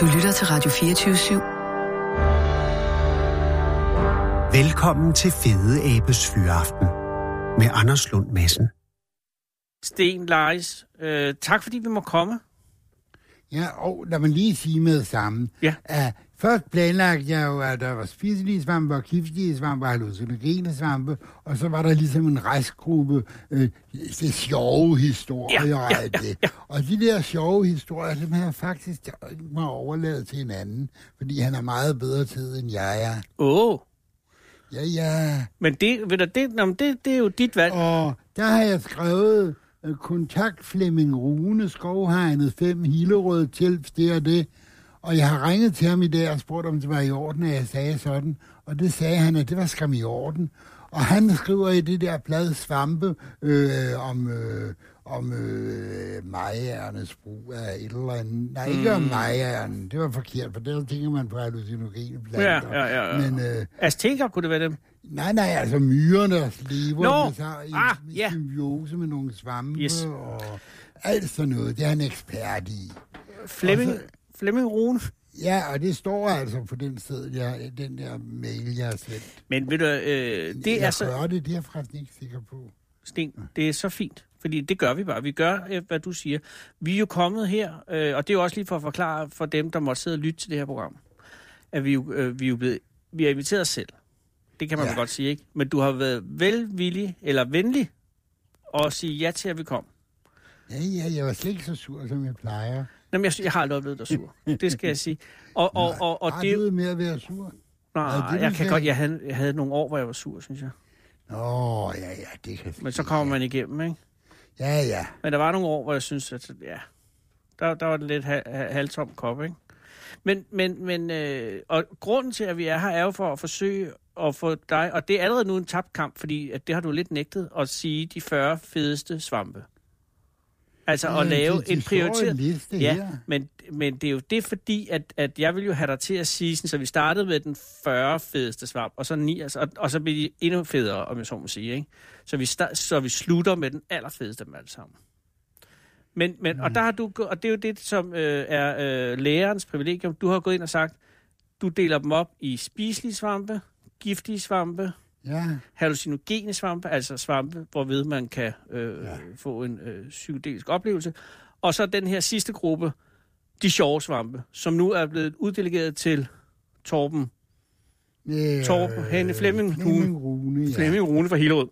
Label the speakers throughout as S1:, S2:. S1: Du lytter til Radio 24 /7.
S2: Velkommen til Fede Abes Fyraften med Anders Lund Madsen.
S3: Sten Leis, øh, tak fordi vi må komme.
S4: Ja, og lad mig lige sige med sammen.
S3: Ja.
S4: Uh, først planlagde jeg jo, at der var spiselige svampe og giftige svampe og hallucinogene svampe, og så var der ligesom en restgruppe øh, det sjove historier
S3: Ja,
S4: og
S3: ja,
S4: alt det. Og de der sjove historier, dem har jeg faktisk tænkt mig overladet til en anden, fordi han er meget bedre til det, end jeg er.
S3: Åh, oh,
S4: Ja, ja.
S3: men det, ved du, det, nå, men det, det er jo dit valg.
S4: Og der har jeg skrevet øh, kontakt Flemming Rune, Skovhegnet 5, Hillerød, Tilps, det og det. Og jeg har ringet til ham i dag og spurgt, om det var i orden, at jeg sagde sådan. Og det sagde han, at det var skam i orden. Og han skriver i det der blad Svampe øh, om, øh, om øh, majernes brug af et eller andet. Nej, ikke
S3: Mm.
S4: om majerne. Det var forkert, for der tænker man på hallucinogene planter.
S3: Ja, ja, ja, ja.
S4: Men øh,
S3: Azteker, kunne det være dem?
S4: Nej, nej, altså myrerne og sleverne,
S3: Nå,
S4: no. så i
S3: ah,
S4: ah,
S3: ja.
S4: symbiose med nogle svampe
S3: Yes.
S4: yes. og alt sådan noget. Det er han ekspert i.
S3: Flemming, Flemming Rune.
S4: Ja, og det står altså på den sted, jeg, den der mail, jeg har sendt.
S3: Men ved du, øh, det er
S4: jeg
S3: så,
S4: gør det, det er jeg faktisk ikke sikker på.
S3: Sten, det er så fint. Fordi det gør vi bare. Vi gør, øh, hvad du siger. Vi er jo kommet her, øh, og det er jo også lige for at forklare for dem, der måtte sidde og lytte til det her program, at vi, jo, øh, vi er jo blevet, vi har inviteret os selv. Det kan man
S4: Ja.
S3: ja. godt sige, ikke? Men du har været velvillig, eller venlig, og sige ja til, at vi kom.
S4: Ja, ja, jeg var slet ikke så sur, som jeg plejer.
S3: Jamen, jeg, jeg har aldrig oplevet dig sur. Det skal jeg sige. Og, og, og, og
S4: Har
S3: det,
S4: du det med at være sur?
S3: nej,
S4: Nej, det
S3: jeg
S4: vil
S3: kan
S4: jeg
S3: godt,
S4: ikke.
S3: jeg havde, jeg havde nogle år, hvor jeg var sur, synes jeg.
S4: Nå, ja, ja, det kan
S3: Men så kommer man igennem, ikke?
S4: Ja, ja.
S3: Men der var nogle år, hvor jeg synes, at ja, der, der var det lidt ha- ha- halvtom kop, ikke? Men, men, men øh, og grunden til, at vi er her, er jo for at forsøge at få dig, og det er allerede nu en tabt kamp, fordi at det har du lidt nægtet at sige de 40 fedeste svampe. Altså
S4: Ja,
S3: at lave
S4: de- de
S3: en
S4: står i en
S3: prioriteret...
S4: liste
S3: ja,
S4: her.
S3: men, men det er jo det fordi, at, at jeg vil jo have dig til at sige, sådan, så vi startede med den 40 fedeste svamp, og så 9, og, og så bliver de endnu federe, om jeg så må sige. Ikke? Så, vi sta- så vi slutter med den allerfedeste af dem alle sammen. Men, men, og, der har du, gå- og det er jo det, som øh, er øh, lærerens privilegium. Du har gået ind og sagt, du deler dem op i spiselige svampe, giftige svampe,
S4: Ja,
S3: hallucinogene svampe, altså svampe, hvorved man kan øh, ja. få en øh, psykedelisk oplevelse. Og så den her sidste gruppe, de sjove svampe, som nu er blevet uddelegeret til Torben,
S4: øh,
S3: Torben, Hanne Flemming,
S4: Flemming Rune,
S3: ja.
S4: ja.
S3: Flemming Rune fra Hillerød.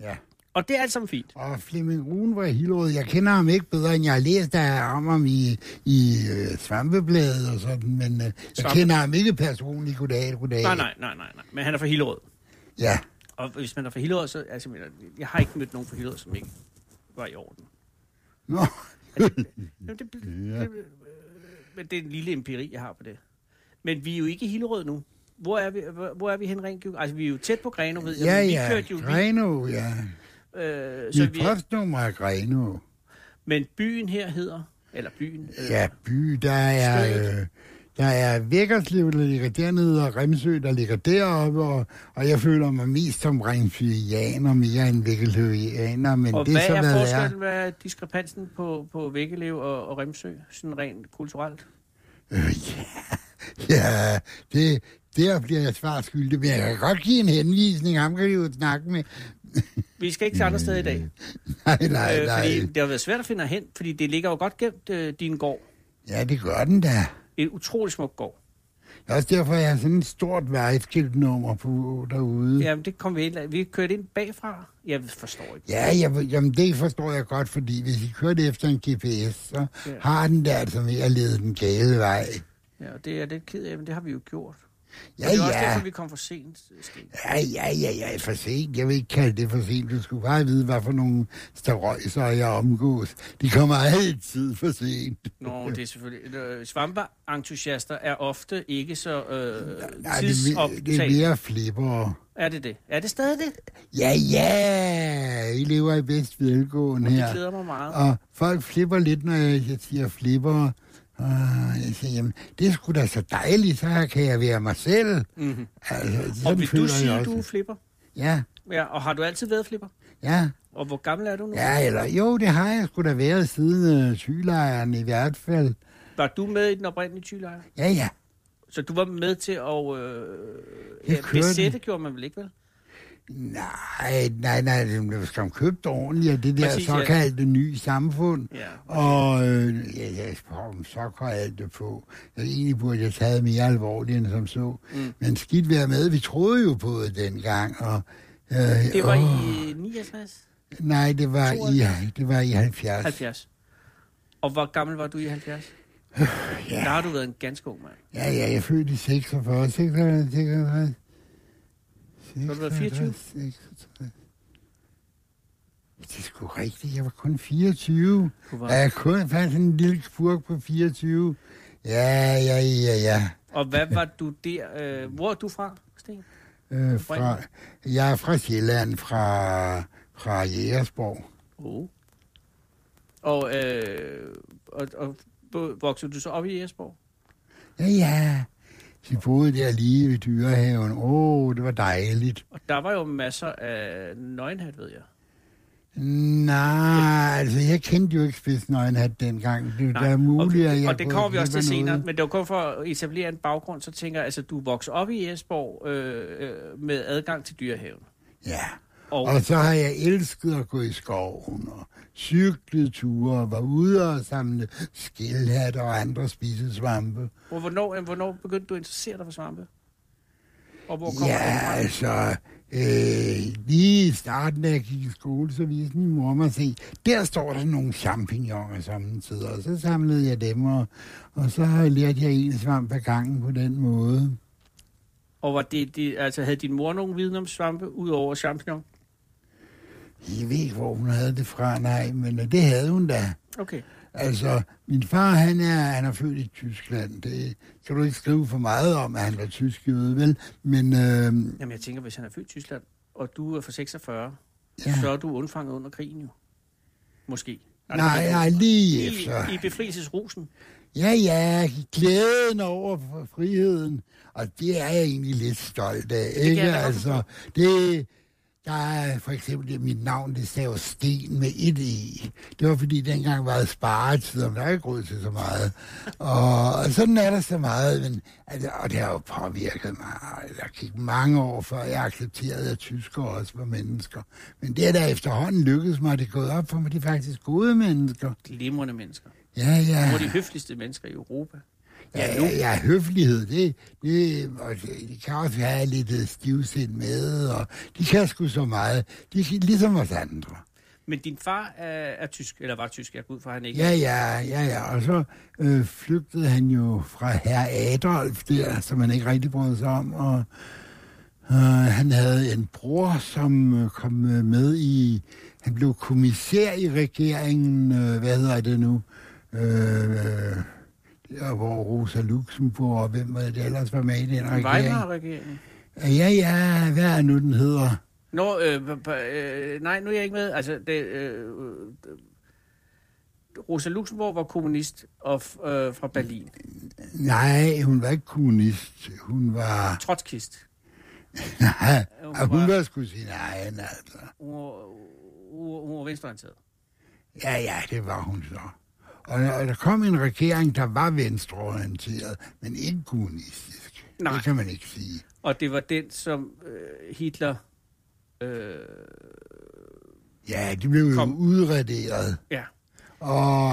S4: ja.
S3: Og det er alt sammen fint.
S4: Og Flemming Rune var i Hillerød. Jeg kender ham ikke bedre, end jeg har læst af om ham i, i øh, Svampebladet og sådan, men øh, jeg
S3: Svampe-
S4: kender ham ikke personligt. Goddag, goddag.
S3: Nej, nej, nej, nej, nej. Men han er fra Hillerød.
S4: Ja,
S3: Og hvis man er fra Hillerød, så... Altså, jeg mener, jeg har ikke mødt nogen fra Hillerød, som ikke var i orden.
S4: nå,
S3: Jamen, det, det, det, øh, men det er en lille empiri, jeg har på det. Men vi er jo ikke i Hillerød nu. Hvor er vi, hvor, hvor er vi hen rent? geografisk? Altså, vi er jo tæt på Greno, ved jeg.
S4: ja,
S3: men vi
S4: ja,
S3: kørte jo... Vi,
S4: Greno, ja.
S3: øh, så
S4: Mit
S3: vi,
S4: postnummer er Greno.
S3: men byen her hedder... Eller byen... Øh,
S4: Ja, by, der er...
S3: Stedet.
S4: Øh, der er Vækkerslev, der ligger dernede, og Remsø, der ligger deroppe, og, og jeg føler mig mest som remsøianer, mere end vækkeløvianer, men
S3: og
S4: det
S3: hvad
S4: er så,
S3: er
S4: hvad det
S3: forskellen? Hvad er diskrepansen på, på Vækkelev og, og Remsø? Sådan rent kulturelt.
S4: Øh, ja, ja det, der bliver jeg svar skyldig, men jeg kan godt give en henvisning, ham kan vi jo snakke med.
S3: Vi skal ikke til andre steder i dag.
S4: Nej, Mm, nej,
S3: øh,
S4: nej.
S3: fordi det har været svært at finde hen, fordi det ligger jo godt gemt, øh, din gård.
S4: Ja, det gør den da.
S3: En utrolig smuk gård.
S4: Det er også derfor, jeg har sådan et stort vejskiltnummer på derude. Ja,
S3: Jamen, det kom vi ind. Vi kørte ind bagfra. Jeg forstår ikke.
S4: ja jeg, jamen, det forstår jeg godt, fordi hvis I kørte efter en GPS, så
S3: Ja.
S4: ja. har den der altså med at lede den gale vej.
S3: Ja, og det er jeg lidt ked af, men det har vi jo gjort.
S4: Ja,
S3: og det er også
S4: ja.
S3: derfor, vi kom for sent. Sten.
S4: Ja, ja, ja, ja, for sent. Jeg vil ikke kalde det for sent. Du skulle bare vide, hvad for nogle starøjser jeg omgås. De kommer altid for sent.
S3: Nå, det er selvfølgelig... øh, Svampeentusiaster er ofte ikke så øh,
S4: Nej, det, er me- det er
S3: tidsoptaget.
S4: mere flipper.
S3: Er det det? Er det stadig det?
S4: Ja, ja, I lever i bedst velgående
S3: Det
S4: her.
S3: glæder mig meget.
S4: Og folk flipper lidt, når jeg jeg siger flipper. Og jeg siger, jamen, det er sgu da så dejligt, så kan jeg være mig selv. Mm-hmm. Altså, sådan
S3: Mhm. Og vil
S4: føler
S3: du
S4: jeg
S3: sige,
S4: også.
S3: du er flipper?
S4: Ja,
S3: Ja, og har du altid været flipper?
S4: ja.
S3: Og hvor gammel er du nu?
S4: Ja, eller jo, det har jeg sgu da været siden øh, sygelejren i hvert fald.
S3: Var du med i den oprindelige tylejr?
S4: Ja, ja.
S3: Så du var med til at... Øh,
S4: Jeg
S3: ja,
S4: kørte.
S3: besætte gjorde man vel ikke, vel?
S4: Nej, nej, nej, den blev skam købt ordentligt af det der
S3: Præcis, ja.
S4: såkaldte nye samfund.
S3: Ja.
S4: Og øh, jeg, jeg får dem såkaldte på. Jeg egentlig burde jeg taget mere alvorligt end som så. Mm. Men skidt være med, vi troede jo på det dengang. Og, øh,
S3: Det var
S4: åh,
S3: i 69,
S4: Nej, det var, i, det var i 70.
S3: 70. Og hvor gammel var du i 70?
S4: Ja.
S3: Der har du været en ganske ung mand.
S4: Ja, ja, jeg er født i 46, 46, 46.
S3: har du været 24?
S4: 66. Det er sgu rigtigt, jeg var kun 24.
S3: Du var.
S4: Ja, jeg kun fandt en lille spurk på 24. Ja, ja, ja, ja.
S3: Og hvad var du der? Øh, hvor er du fra, Sten?
S4: Øh, fra, jeg er fra Sjælland, fra, fra Jægersborg.
S3: Oh. Og, øh, og, og bo- voksede du så op i Jesborg?
S4: Ja, ja. De boede der lige ved dyrehaven. Åh, oh, det var dejligt.
S3: Og der var jo masser af nøgenhat, ved jeg.
S4: Nej, altså jeg kendte jo ikke spidsnøgenhat dengang. Det
S3: Nej,
S4: der er muligt,
S3: og,
S4: at jeg
S3: og det
S4: både
S3: kommer vi også til
S4: klipper
S3: senere,
S4: noget.
S3: men det var kun for at etablere en baggrund, så tænker jeg, altså du voksede op i Jesborg øh, øh, med adgang til dyrehaven.
S4: Ja,
S3: Og,
S4: og så har jeg elsket at gå i skoven og cyklet ture og var ude og samle skildhat og andre spisesvampe.
S3: og hvornår, øh, hvornår begyndte du at interessere dig for svampe? Og hvor kommer
S4: Ja,
S3: det fra?
S4: altså, øh, lige i starten, da jeg gik i skole, så viste min mor mig se, der står der nogle champignoner samtidig, og så samlede jeg dem, og, og så har jeg lært jeg en svamp ad gangen på den måde.
S3: Og var det, det, altså, havde din mor nogen viden om svampe, udover champignon?
S4: Jeg ved ikke, hvor hun havde det fra, nej, men øh, det havde hun da.
S3: Okay.
S4: Altså, min far, han er, han er født i Tyskland. Det kan du ikke skrive for meget om, at han var tysk jøde, vel? Men øh,
S3: Jamen jeg tænker, hvis han er født i Tyskland, og du er fra 46,
S4: ja,
S3: ja. så er du undfanget under krigen jo. Måske.
S4: nej,
S3: det-
S4: nej, lige efter.
S3: I, I befrielsesrusen.
S4: Ja, ja, glæden over for friheden. Og det er jeg egentlig lidt stolt af,
S3: jeg
S4: ikke?
S3: da godt
S4: Altså, det, der er for eksempel mit navn, det stav Sten med et i. Det var fordi, dengang var det sparetid, og der er ikke råd til så meget. Og, og sådan er der så meget, men, altså, og det har jo påvirket mig. Der gik mange år, før jeg accepterede, at tyskere også var mennesker. Men det er der efterhånden lykkedes mig, det er gået op for mig, de er faktisk gode mennesker.
S3: Glimrende mennesker.
S4: Ja, ja.
S3: Nogle af de høfligste mennesker i Europa.
S4: Ja, ja, ja, høflighed, det, det, og det, de kan også have lidt øh, stivsind med, og de kan sgu så meget. De kan ligesom os andre.
S3: Men din far er, er tysk, eller var tysk, jeg går ud fra, han ikke.
S4: Ja, ja, ja, ja. Og så øh, flygtede han jo fra herr Adolf der, som han ikke rigtig brød sig om, og øh, han havde en bror, som øh, kom øh, med i... Han blev kommissær i regeringen, øh, hvad hedder det nu? Øh, øh, der, hvor Rosa Luxemburg og hvem var det der ellers var med i den regering.
S3: Weimar-regeringen.
S4: Ja, ja, hvad er nu den hedder?
S3: Nå, øh, b- b- øh, nej, nu er jeg ikke med. Altså, det, øh, øh, Rosa Luxemburg var kommunist og f- øh, fra Berlin.
S4: Nej, hun var ikke kommunist. Hun var...
S3: Trotskist.
S4: Nej,
S3: Hun
S4: og hun
S3: var-
S4: var sgu sin egen, altså.
S3: Hun var, hun- hun var venstreorienteret.
S4: Ja, ja, det var hun så. Og der, og der kom en regering, der var venstreorienteret, men ikke kommunistisk.
S3: Nej.
S4: Det kan man ikke sige.
S3: Og det var den, som øh, Hitler... Øh,
S4: Ja, det blev
S3: Kom.
S4: jo udraderet.
S3: ja,
S4: Og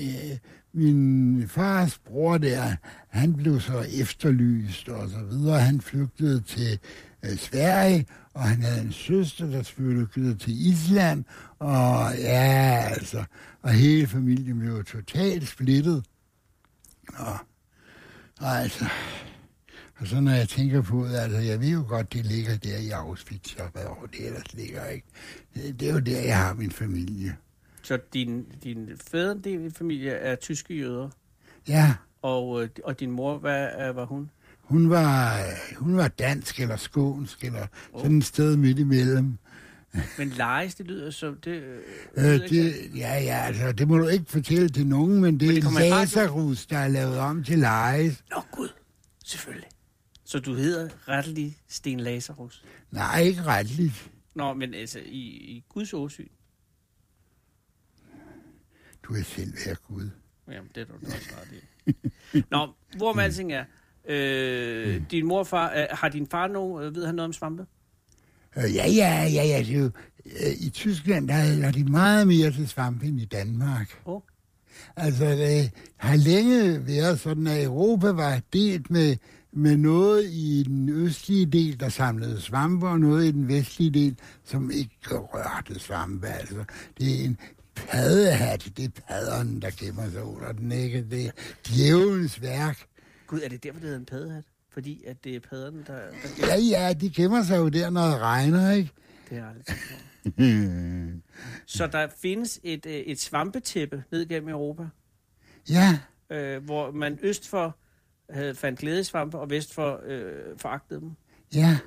S4: øh, min fars bror der, han blev så efterlyst og så videre. Han flygtede til øh, Sverige, og han havde en søster, der flygtede til Island. Og ja, altså, og hele familien blev jo totalt splittet. Og, og altså, og så når jeg tænker på det, altså jeg ved jo godt, det ligger der i Auschwitz, og hvad over det ellers ligger, ikke? Det, det er jo der, jeg har min familie.
S3: så din, din fædrendel familie er tyske jøder,
S4: Ja,
S3: og, øh, og din mor, hvad øh, var hun?
S4: Hun var, øh, hun var dansk eller skånsk eller oh. sådan et sted midt imellem.
S3: Men lejes, det lyder som... Det, øh, lyder
S4: Øh,
S3: ikke
S4: det, ja, ja, altså, det må du ikke fortælle til nogen, men det
S3: det
S4: er
S3: kommer i radioen.
S4: Lazarus, der er lavet om til Lejes.
S3: Nå gud, selvfølgelig. Så du hedder rettelig Sten Lazarus?
S4: Nej, ikke retligt.
S3: Nå, men altså i, i Guds åsyn.
S4: Du er selv ved Gud.
S3: Jamen, det er du da også ret i. Nå, hvor med alting er, øh, din morfar, øh, har din far nogen, øh, ved han noget om svampe?
S4: Øh, ja, ja, ja, ja. Det er jo, øh, I Tyskland, der hælder de meget mere til svampe end i Danmark.
S3: Åh.
S4: Altså, det har længe været sådan, at Europa var delt med, med noget i den østlige del, der samlede svampe, og noget i den vestlige del, som ikke rørte svampe. Altså, det er en paddehat, det er padderen, der gemmer sig under den, ikke? Det er djævelens værk.
S3: Gud, er det derfor, det hedder en paddehat? Fordi at det er padderne, der... der
S4: Ja, ja, de gemmer sig jo der, når det regner, ikke?
S3: det har jeg aldrig tænkt over. Så der findes et, øh, et svampetæppe ned gennem Europa,
S4: Ja,
S3: øh, hvor man øst for havde fandt glædesvampe, og vest for øh, foragtede dem.
S4: ja.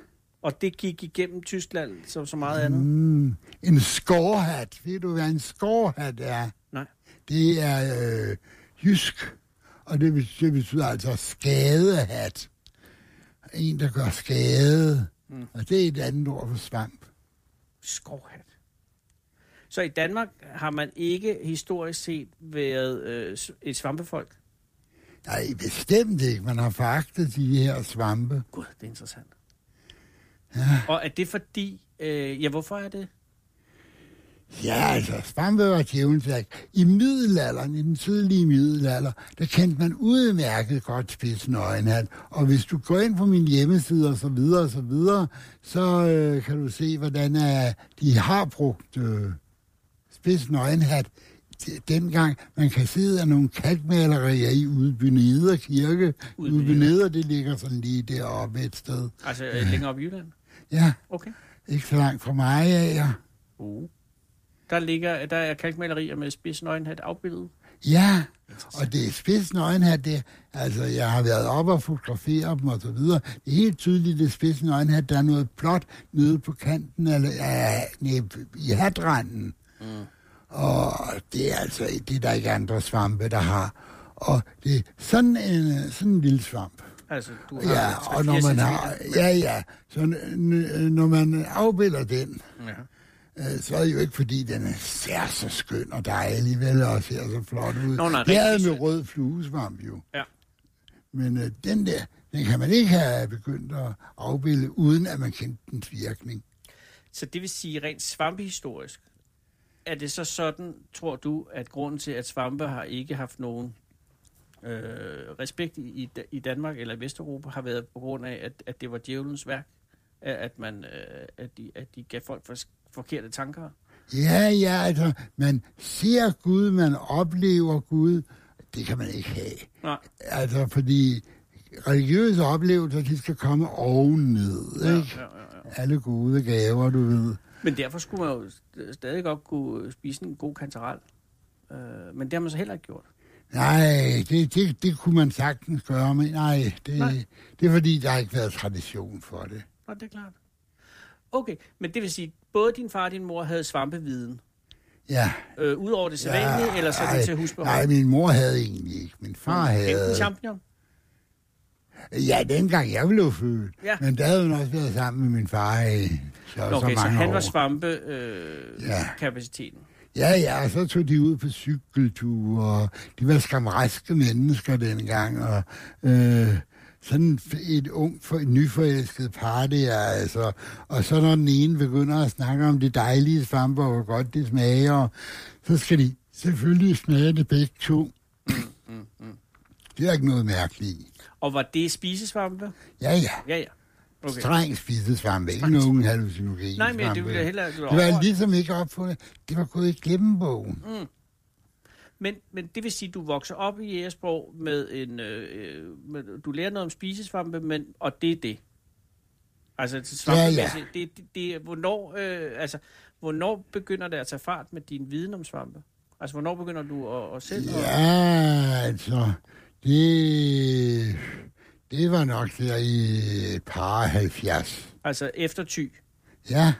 S3: Og det gik igennem Tyskland, som så meget andet.
S4: Mm, en skovhat. Ved du, hvad en skovhat er?
S3: Nej.
S4: Det er øh, jysk, og det betyder, det betyder altså skadehat. En, der gør skade. Mm. Og det er et andet ord for svamp.
S3: Skovhat. Så i Danmark har man ikke historisk set været øh, s- et svampefolk.
S4: Nej, bestemt ikke. Man har foragtet de her svampe.
S3: Gud, det er interessant. Ja. Og er det fordi... Øh, ja, hvorfor er det?
S4: Ja, altså, svampe var djævelens værk. I middelalderen, i den tidlige middelalder, der kendte man udmærket godt spidsen øjenhat. Og hvis du går ind på min hjemmeside og så videre og så videre, så øh, kan du se, hvordan øh, de har brugt øh, spidsen øjenhat d- dengang. Man kan se, at nogle kalkmalerier i Udbyneder Kirke.
S3: Udbyneder.
S4: Udbyneder, det ligger sådan lige deroppe et sted.
S3: Altså øh, længere op i Jylland?
S4: Ja,
S3: Okay.
S4: ikke så langt fra mig af. Ja.
S3: Uh. Der, ligger, der er kalkmalerier med spidsnøgenhat afbildet.
S4: Ja, og det er spidsen øjenhat, det, altså jeg har været op og fotograferet dem og så videre. Det er helt tydeligt, det er spidsen øjenhat, der er noget blåt nede på kanten, eller ja, nej, i hatranden. Mm. Og det er altså det, er der ikke andre svampe, der har. Og det er sådan en, øh, sådan en lille svamp.
S3: Altså, du har
S4: Ja,
S3: tre-
S4: og når
S3: fire
S4: man har,
S3: centimeter.
S4: ja, ja, så n- n- når man afbilder den,
S3: Ja.
S4: øh, så er det jo ikke, fordi den er sær så skøn og dejlig, vel, og ser så flot ud.
S3: Nå, nej,
S4: det er
S3: rigtig
S4: med
S3: sødt.
S4: rød fluesvamp jo.
S3: Ja.
S4: Men øh, den der, den kan man ikke have begyndt at afbilde, uden at man kendte dens virkning.
S3: Så det vil sige rent svampehistorisk. Er det så sådan, tror du, at grunden til, at svampe har ikke haft nogen øh, respekt i, i, Da- i Danmark eller i Vesteuropa, har været på grund af, at, at det var djævelens værk? At at man, øh, at, de, at de gav folk for, forkerte tanker?
S4: Ja, ja, altså, man ser Gud, man oplever Gud. Det kan man ikke have.
S3: Nej.
S4: Altså, fordi religiøse oplevelser, de skal komme ovenned,
S3: Ja,
S4: ikke?
S3: ja, ja, ja.
S4: Alle gode gaver, du ved.
S3: Men derfor skulle man jo st- stadig godt kunne spise en god kantarel. Øh, men det har man så heller ikke gjort.
S4: Nej, det, det, det kunne man sagtens gøre, men nej, det,
S3: Nej.
S4: nej. det er fordi, der har ikke været tradition for det.
S3: Nå, det er klart. Okay, men det vil sige, både din far og din mor havde svampeviden.
S4: Ja.
S3: Øh, Udover det sædvanlige, ja, eller sådan
S4: nej,
S3: til husbehov?
S4: Nej, min mor havde egentlig ikke. Min far
S3: Enten
S4: havde...
S3: champignon?
S4: Ja, dengang jeg blev født.
S3: Ja.
S4: Ja. Men der havde hun også været sammen med min far i så,
S3: Nå, Okay,
S4: så
S3: så,
S4: mange
S3: han
S4: år.
S3: var svampe-kapaciteten.
S4: Ja.
S3: Øh, kapaciteten.
S4: Ja, ja, og så tog de ud på cykelture, og de var skam raske mennesker dengang, og øh, sådan et ung, for, nyforelsket par der, altså. Og så når den ene begynder at snakke om det dejlige svampe, og hvor godt det smager, så skal de selvfølgelig smage det begge to. Det er ikke noget mærkeligt i.
S3: Og var det spisesvampe?
S4: Ja, ja.
S3: Ja, ja.
S4: Okay.
S3: Okay.
S4: Streng spisesvampe, ikke nogen hallucinogen.
S3: Nej, men det ville jeg heller
S4: Det var
S3: ikke
S4: ligesom ikke opfundet. Det var gået i glemmebogen.
S3: men, men det vil sige, at du vokser op i jægersprog med en... Øh, øh, med, du lærer noget om spisesvampe, men, og det er det. Altså, til svampe,
S4: Ja, ja.
S3: altså, Det, det, det, er- hvornår, øh, altså, hvornår begynder det at tage fart med din viden om svampe? Altså, hvornår begynder du at, at selv... at-
S4: Ja, altså, det, det var nok der i et par 70.
S3: Altså, efter ty.
S4: Ja.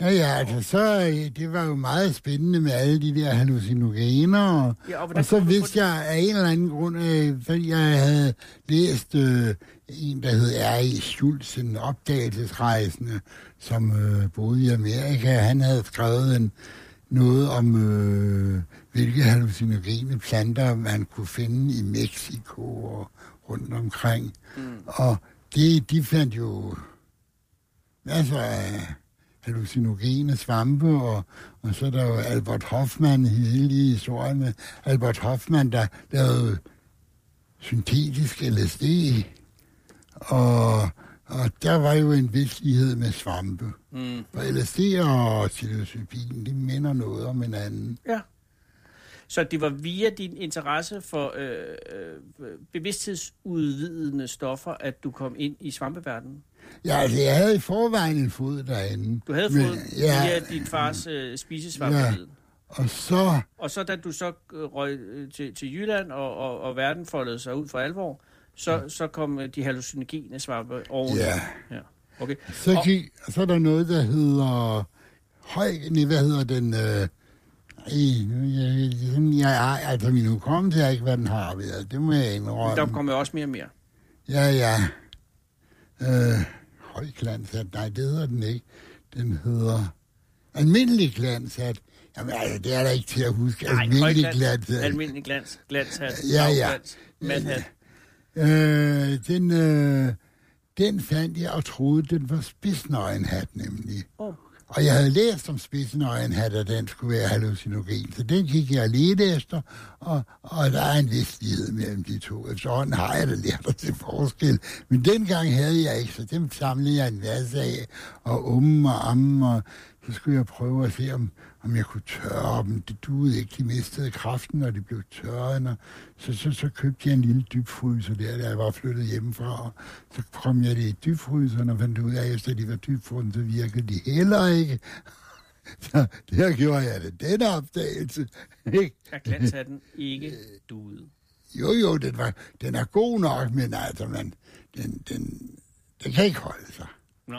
S4: Ja, ja, altså, så, øh, det var jo meget spændende med alle de der hallucinogener, og,
S3: Ja, og hvordan
S4: og så
S3: kom du på
S4: vidste jeg af en eller anden grund, øh, fordi jeg havde læst øh, en, der hed R.E. Schultz, en opdagelsesrejsende, som øh, boede i Amerika. Han havde skrevet en, noget om, øh, hvilke hallucinerende planter man kunne finde i Mexico og rundt omkring. Mm. Og det, de fandt jo masser af hallucinogene svampe, øh, og, og så er der jo Albert Hoffmann, hele historien med Albert Hoffmann, der lavede syntetisk LSD, og, og der var jo en vis lighed med svampe.
S3: Mm.
S4: For LSD og psilocybin, de minder noget om hinanden.
S3: Ja. Så det var via din interesse for øh, øh, bevidsthedsudvidende stoffer, at du kom ind i svampeverdenen?
S4: Ja, altså, jeg havde i forvejen en fod derinde.
S3: Du havde
S4: Men-
S3: fået ja, via din fars øh, spisesvampeviden. Ja.
S4: Og så,
S3: Og så da du så øh, røg øh, til, til Jylland, og, og, og verden foldede sig ud for alvor, så, ja. så kom øh, de hallucinogene svampe over.
S4: ja,
S3: ja. Okay.
S4: så,
S3: Og-
S4: gik, så er der noget, der hedder høj, nej, hvad hedder den, øh, ej, nu- jeg, jeg, jeg, jeg, altså min hukommelse er ikke, hvad den har været, det må jeg indrømme.
S3: Der kommer også mere og mere.
S4: Ja, ja. Øh, højglanshat. Nej, det hedder den ikke. Den hedder almindelig glanshat. Jamen, altså, det er da ikke til at huske.
S3: Nej,
S4: almindelig
S3: højglans,
S4: glanshat.
S3: Almindelig glans, glanshat,
S4: Ja, ja.
S3: lavglans, Madhat.
S4: øh, den, øh, den fandt jeg og troede, den var spidsnøgenhat, nemlig.
S3: Åh.
S4: Og jeg havde læst om spidsnøgenhat, at den skulle være hallucinogen. Så den gik jeg lidt efter, og, og der er en vis lighed mellem de to. Efterhånden har jeg da lært at se forskel. Men dengang havde jeg ikke, så dem samlede jeg en masse af, og umme og amme, og så skulle jeg prøve at se, om, om jeg kunne tørre dem. Det duede ikke, de mistede kraften, og de blev tørre. Når, så, så, så købte jeg en lille dybfryser der, da jeg var flyttet hjemmefra. Og så kom jeg det i dybfryseren og fandt ud af, at efter de var dybfrysen, så virkede de heller ikke. Så der gjorde jeg det. Den opdagelse. Ikke?
S3: Er glanshatten ikke
S4: Øh.
S3: duet?
S4: Jo, jo, den, var, den er god nok, men altså, man, den, den, den kan ikke holde sig.
S3: Nå.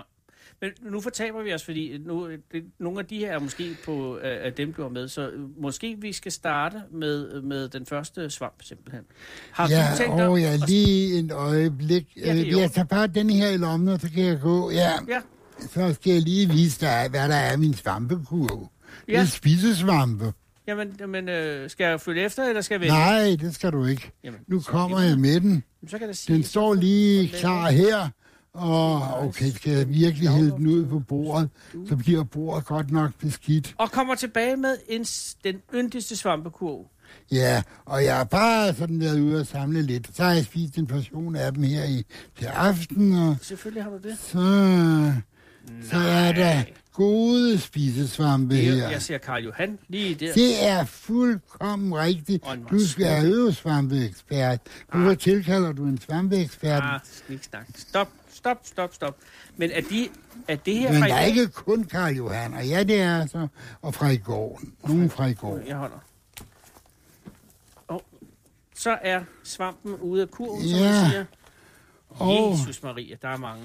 S3: Men nu fortaber vi os, fordi nu, det, nogle af de her er måske på øh, af dem, du har med, så øh, måske vi skal starte med, med den første svamp, simpelthen. Har du tænkt dig...
S4: ja, åh, ja,
S3: at-
S4: lige en øjeblik.
S3: Ja, det er
S4: Øh,
S3: jo-
S4: jeg tager bare den her i lommen, og så kan jeg gå. Ja,
S3: Ja,
S4: så skal jeg lige vise dig, hvad der er i min svampekurv. Det
S3: Ja.
S4: er spisesvampe.
S3: jamen, men, øh, skal jeg følge efter, eller skal jeg vente?
S4: Nej, det skal du ikke.
S3: Jamen,
S4: Nu
S3: så-
S4: kommer jeg med den.
S3: Jamen, Så kan jeg sige,
S4: Den står lige klar her. Og okay, skal jeg virkelig hælde den ud på bordet, så bliver bordet godt nok beskidt.
S3: Og kommer tilbage med en, s- den yndigste svampekurv.
S4: Ja, og jeg har bare sådan været ude og samle lidt. Så har jeg spist en portion af dem her i, til aften, og
S3: Selvfølgelig har du det.
S4: så, så er der gode spisesvampe
S3: Jeg,
S4: her.
S3: jeg ser Karl Johan lige der.
S4: Det er fuldkommen rigtigt.
S3: Og en
S4: Du skal
S3: masse-
S4: have øvesvampeekspert. Hvorfor tilkalder du en svampeekspert?
S3: Ah, snik, snak. Stop, stop, stop, stop. Men er, de, er det her...
S4: Men
S3: fra i
S4: der er
S3: dag-
S4: ikke kun Karl Johan, og ja, det er altså, og fra i går. Nogen fra i går.
S3: Jeg holder. Og så er svampen ude af kurven, som
S4: Ja.
S3: man siger.
S4: Og
S3: Jesus Maria, der er mange.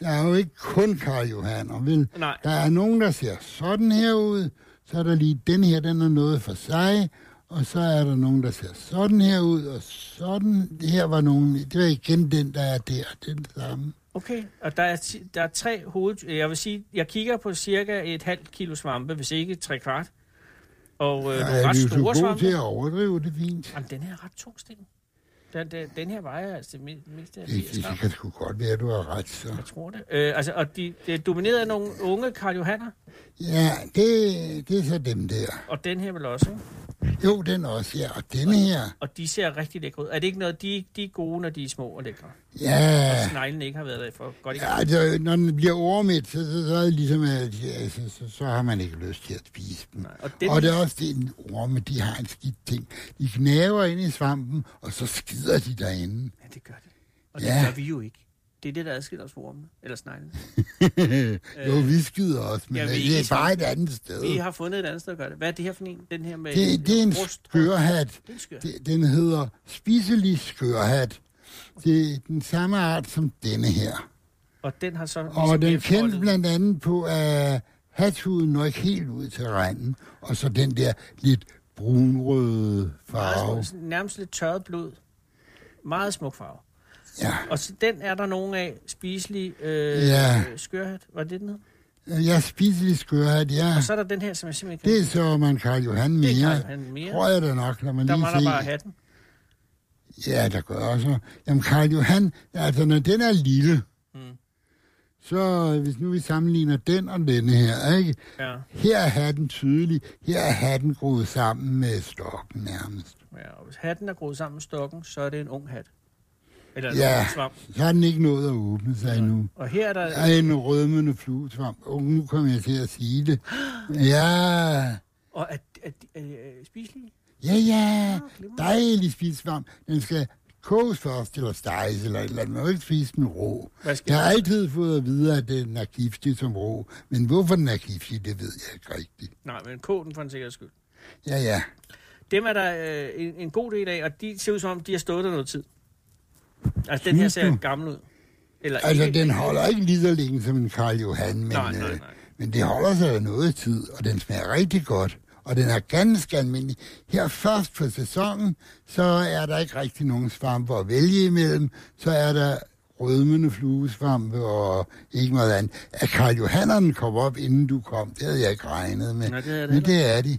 S4: der er jo ikke kun Karl Johan, og vel,
S3: Nej.
S4: der er nogen, der ser sådan her ud, så er der lige den her, den er noget for sig, og så er der nogen, der ser sådan her ud, og sådan, det her var nogen, det var igen den, der er der, den samme.
S3: Okay, og der er, ti- der er tre hoved... Jeg vil sige, jeg kigger på cirka et halvt kilo svampe, hvis ikke tre kvart. Og øh,
S4: Ja,
S3: nogle
S4: er
S3: ret
S4: vi jo så
S3: store
S4: gode
S3: svampe.
S4: til at overdrive, det er fint.
S3: Jamen, den her er ret tung, Sten. Den, den, den her vejer altså det mi- mindste af
S4: Det,
S3: 80
S4: det,
S3: gram.
S4: det kan sgu godt være, du har ret, så.
S3: Jeg tror det. Øh, altså, og de, de er domineret af nogle unge Karl Johanner,
S4: Ja, det, det er så dem der.
S3: og den her vel også, ikke?
S4: Jo, den også, ja. Og denne her,
S3: Og de ser rigtig lækre ud. Er det ikke noget, de, de er gode, når de er små og lækre?
S4: ja.
S3: Sneglen ikke har været der for godt i gang.
S4: Ja, altså, når den bliver ormet, så, så, så, er det ligesom, at, ja, så, så, så har man ikke lyst til at spise dem.
S3: Og den,
S4: Den... Og det er også det, orme, de har en skidt ting. De gnaver ind i svampen, og så skider de derinde.
S3: ja, det gør det. Og det
S4: Ja.
S3: gør vi jo ikke. Det er det, der adskiller os fra ormene. Eller sneglen.
S4: jo, vi skider også, men
S3: ja,
S4: ja,
S3: vi er
S4: det
S3: ikke
S4: er bare et andet sted.
S3: Vi har fundet et andet sted at gøre det. Hvad er det her for en? Den her med
S4: Øh. Det, det er en
S3: rust-
S4: skørhat.
S3: Det er en skør.
S4: Det, den hedder spiselig skørhat. Det er den samme art som denne her.
S3: Og den har så...
S4: Og den
S3: bliver
S4: kendte
S3: foldet.
S4: blandt andet på, at hathuden når ikke helt ud til regnen, og så den der lidt brunrøde farve.
S3: Meget smuk, Nærmest lidt tørret blod. Meget smuk farve.
S4: Ja.
S3: Og så den er der nogen af spiselige øh,
S4: Ja.
S3: øh, skørhat. Var det den hed?
S4: Øh, Jeg er spiselig skørhat, ja.
S3: Og så er der den her, som jeg simpelthen
S4: Det
S3: kan...
S4: er så man Karl Johan mere.
S3: Det kan han mere.
S4: Tror jeg da nok, når man
S3: Der
S4: lige
S3: mangler
S4: ser.
S3: bare hatten.
S4: Ja, der gør også. Jamen, Karl Johan, altså når den er lille, mm.
S3: Mm.
S4: så øh, hvis nu vi sammenligner den og denne her, ikke?
S3: Ja,
S4: Her er hatten tydelig, her er hatten groet sammen med stokken nærmest.
S3: ja. Og hvis hatten er groet sammen med stokken, så er det en ung hat. Eller en
S4: Ja.
S3: ung svamp.
S4: Så har den ikke nået at åbne sig endnu.
S3: Og her er der...
S4: Der er en rødmende fluesvamp. Oh, nu kommer jeg til at sige det. Ja,
S3: Og er, er, er, er, er spiselige?
S4: ja, ja. Dejlig spidsvamp. Den skal koges først, eller steges, eller et eller andet. Man må ikke spise den rå.
S3: Hvad skal
S4: Jeg har altid fået at vide, at den er giftig som rå. Men hvorfor den er giftig, det ved jeg ikke rigtigt.
S3: Nej, men kog den for en sikkerheds skyld.
S4: Ja, ja.
S3: Dem er der øh, en, en god del af, og de ser ud som om, de har stået der noget tid. Altså, den her
S4: Synes
S3: ser
S4: du?
S3: gammel ud. Eller
S4: Altså,
S3: ikke-
S4: den holder ikke lige så længe som en Karl Johan, men,
S3: Nej, nej,
S4: øh,
S3: nej.
S4: men det holder sig jo noget tid, og den smager rigtig godt. Og den er ganske almindelig. Her først på sæsonen, så er der ikke rigtig nogen svampe at vælge imellem. Så er der rødmende fluesvampe og ikke meget andet. At Karl Johannerne kom op, inden du kom, det havde jeg ikke regnet med.
S3: Nej, det havde jeg da
S4: men det er de.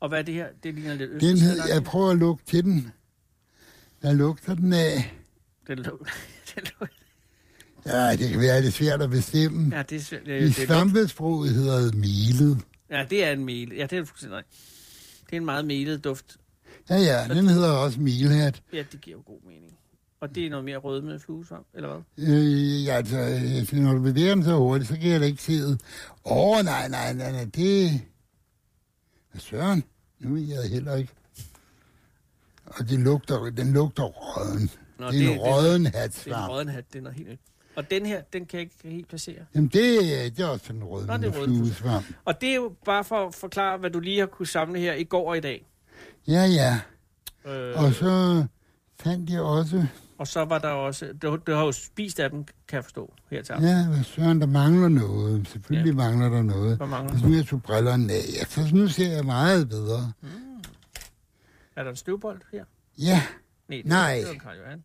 S3: Og hvad er det her? Det ligner lidt
S4: Den hed,
S3: østersælagtigt.
S4: jeg prøver at lugte til den. Hvad lugter den af?
S3: Den lå... den lå...
S4: Ja, det kan være lidt svært at bestemme.
S3: Ja, det er svært.
S4: I
S3: Øh, Det, det, er-
S4: svampesproget hedder det milet.
S3: ja, det er en mel. Ja, det er du fuldstændig nej. Det er en meget melet duft.
S4: Ja, ja, den hedder også milhat.
S3: Ja, det giver jo god mening. Og det er noget mere rød med fluesvamp, eller hvad?
S4: Øh, ja, altså, øh, når du bevæger den så hurtigt, så kan jeg da ikke se det. Åh, oh, nej, nej, nej, nej, det... Hvad søren? Nu er jeg heller ikke. Og det lugter, den lugter røden.
S3: Nå,
S4: det er en røden
S3: Det er en
S4: hatsvamp.
S3: rødden hat, det er noget helt nyt. Og den her, den kan jeg ikke helt placere.
S4: Jamen, det, er- det er også sådan en
S3: Nå, det
S4: røden
S3: er røden.
S4: fluesvamp.
S3: Og det er jo bare for at forklare, hvad du lige har kunne samle her i går og i dag.
S4: Ja, ja.
S3: Øh,
S4: Og så fandt jeg også...
S3: og så var der også... Du, du har jo spist af dem, kan jeg forstå, her til aften.
S4: Ja, hvad søren, der mangler noget. Selvfølgelig
S3: Ja.
S4: ja. mangler der noget.
S3: Hvad mangler
S4: Hvis nu jeg tog brillerne af, ja, så nu ser jeg meget bedre.
S3: Er der en støvbold her?
S4: Ja,
S3: Nej. Det,
S4: Nej.
S3: Det var en Karl Johan.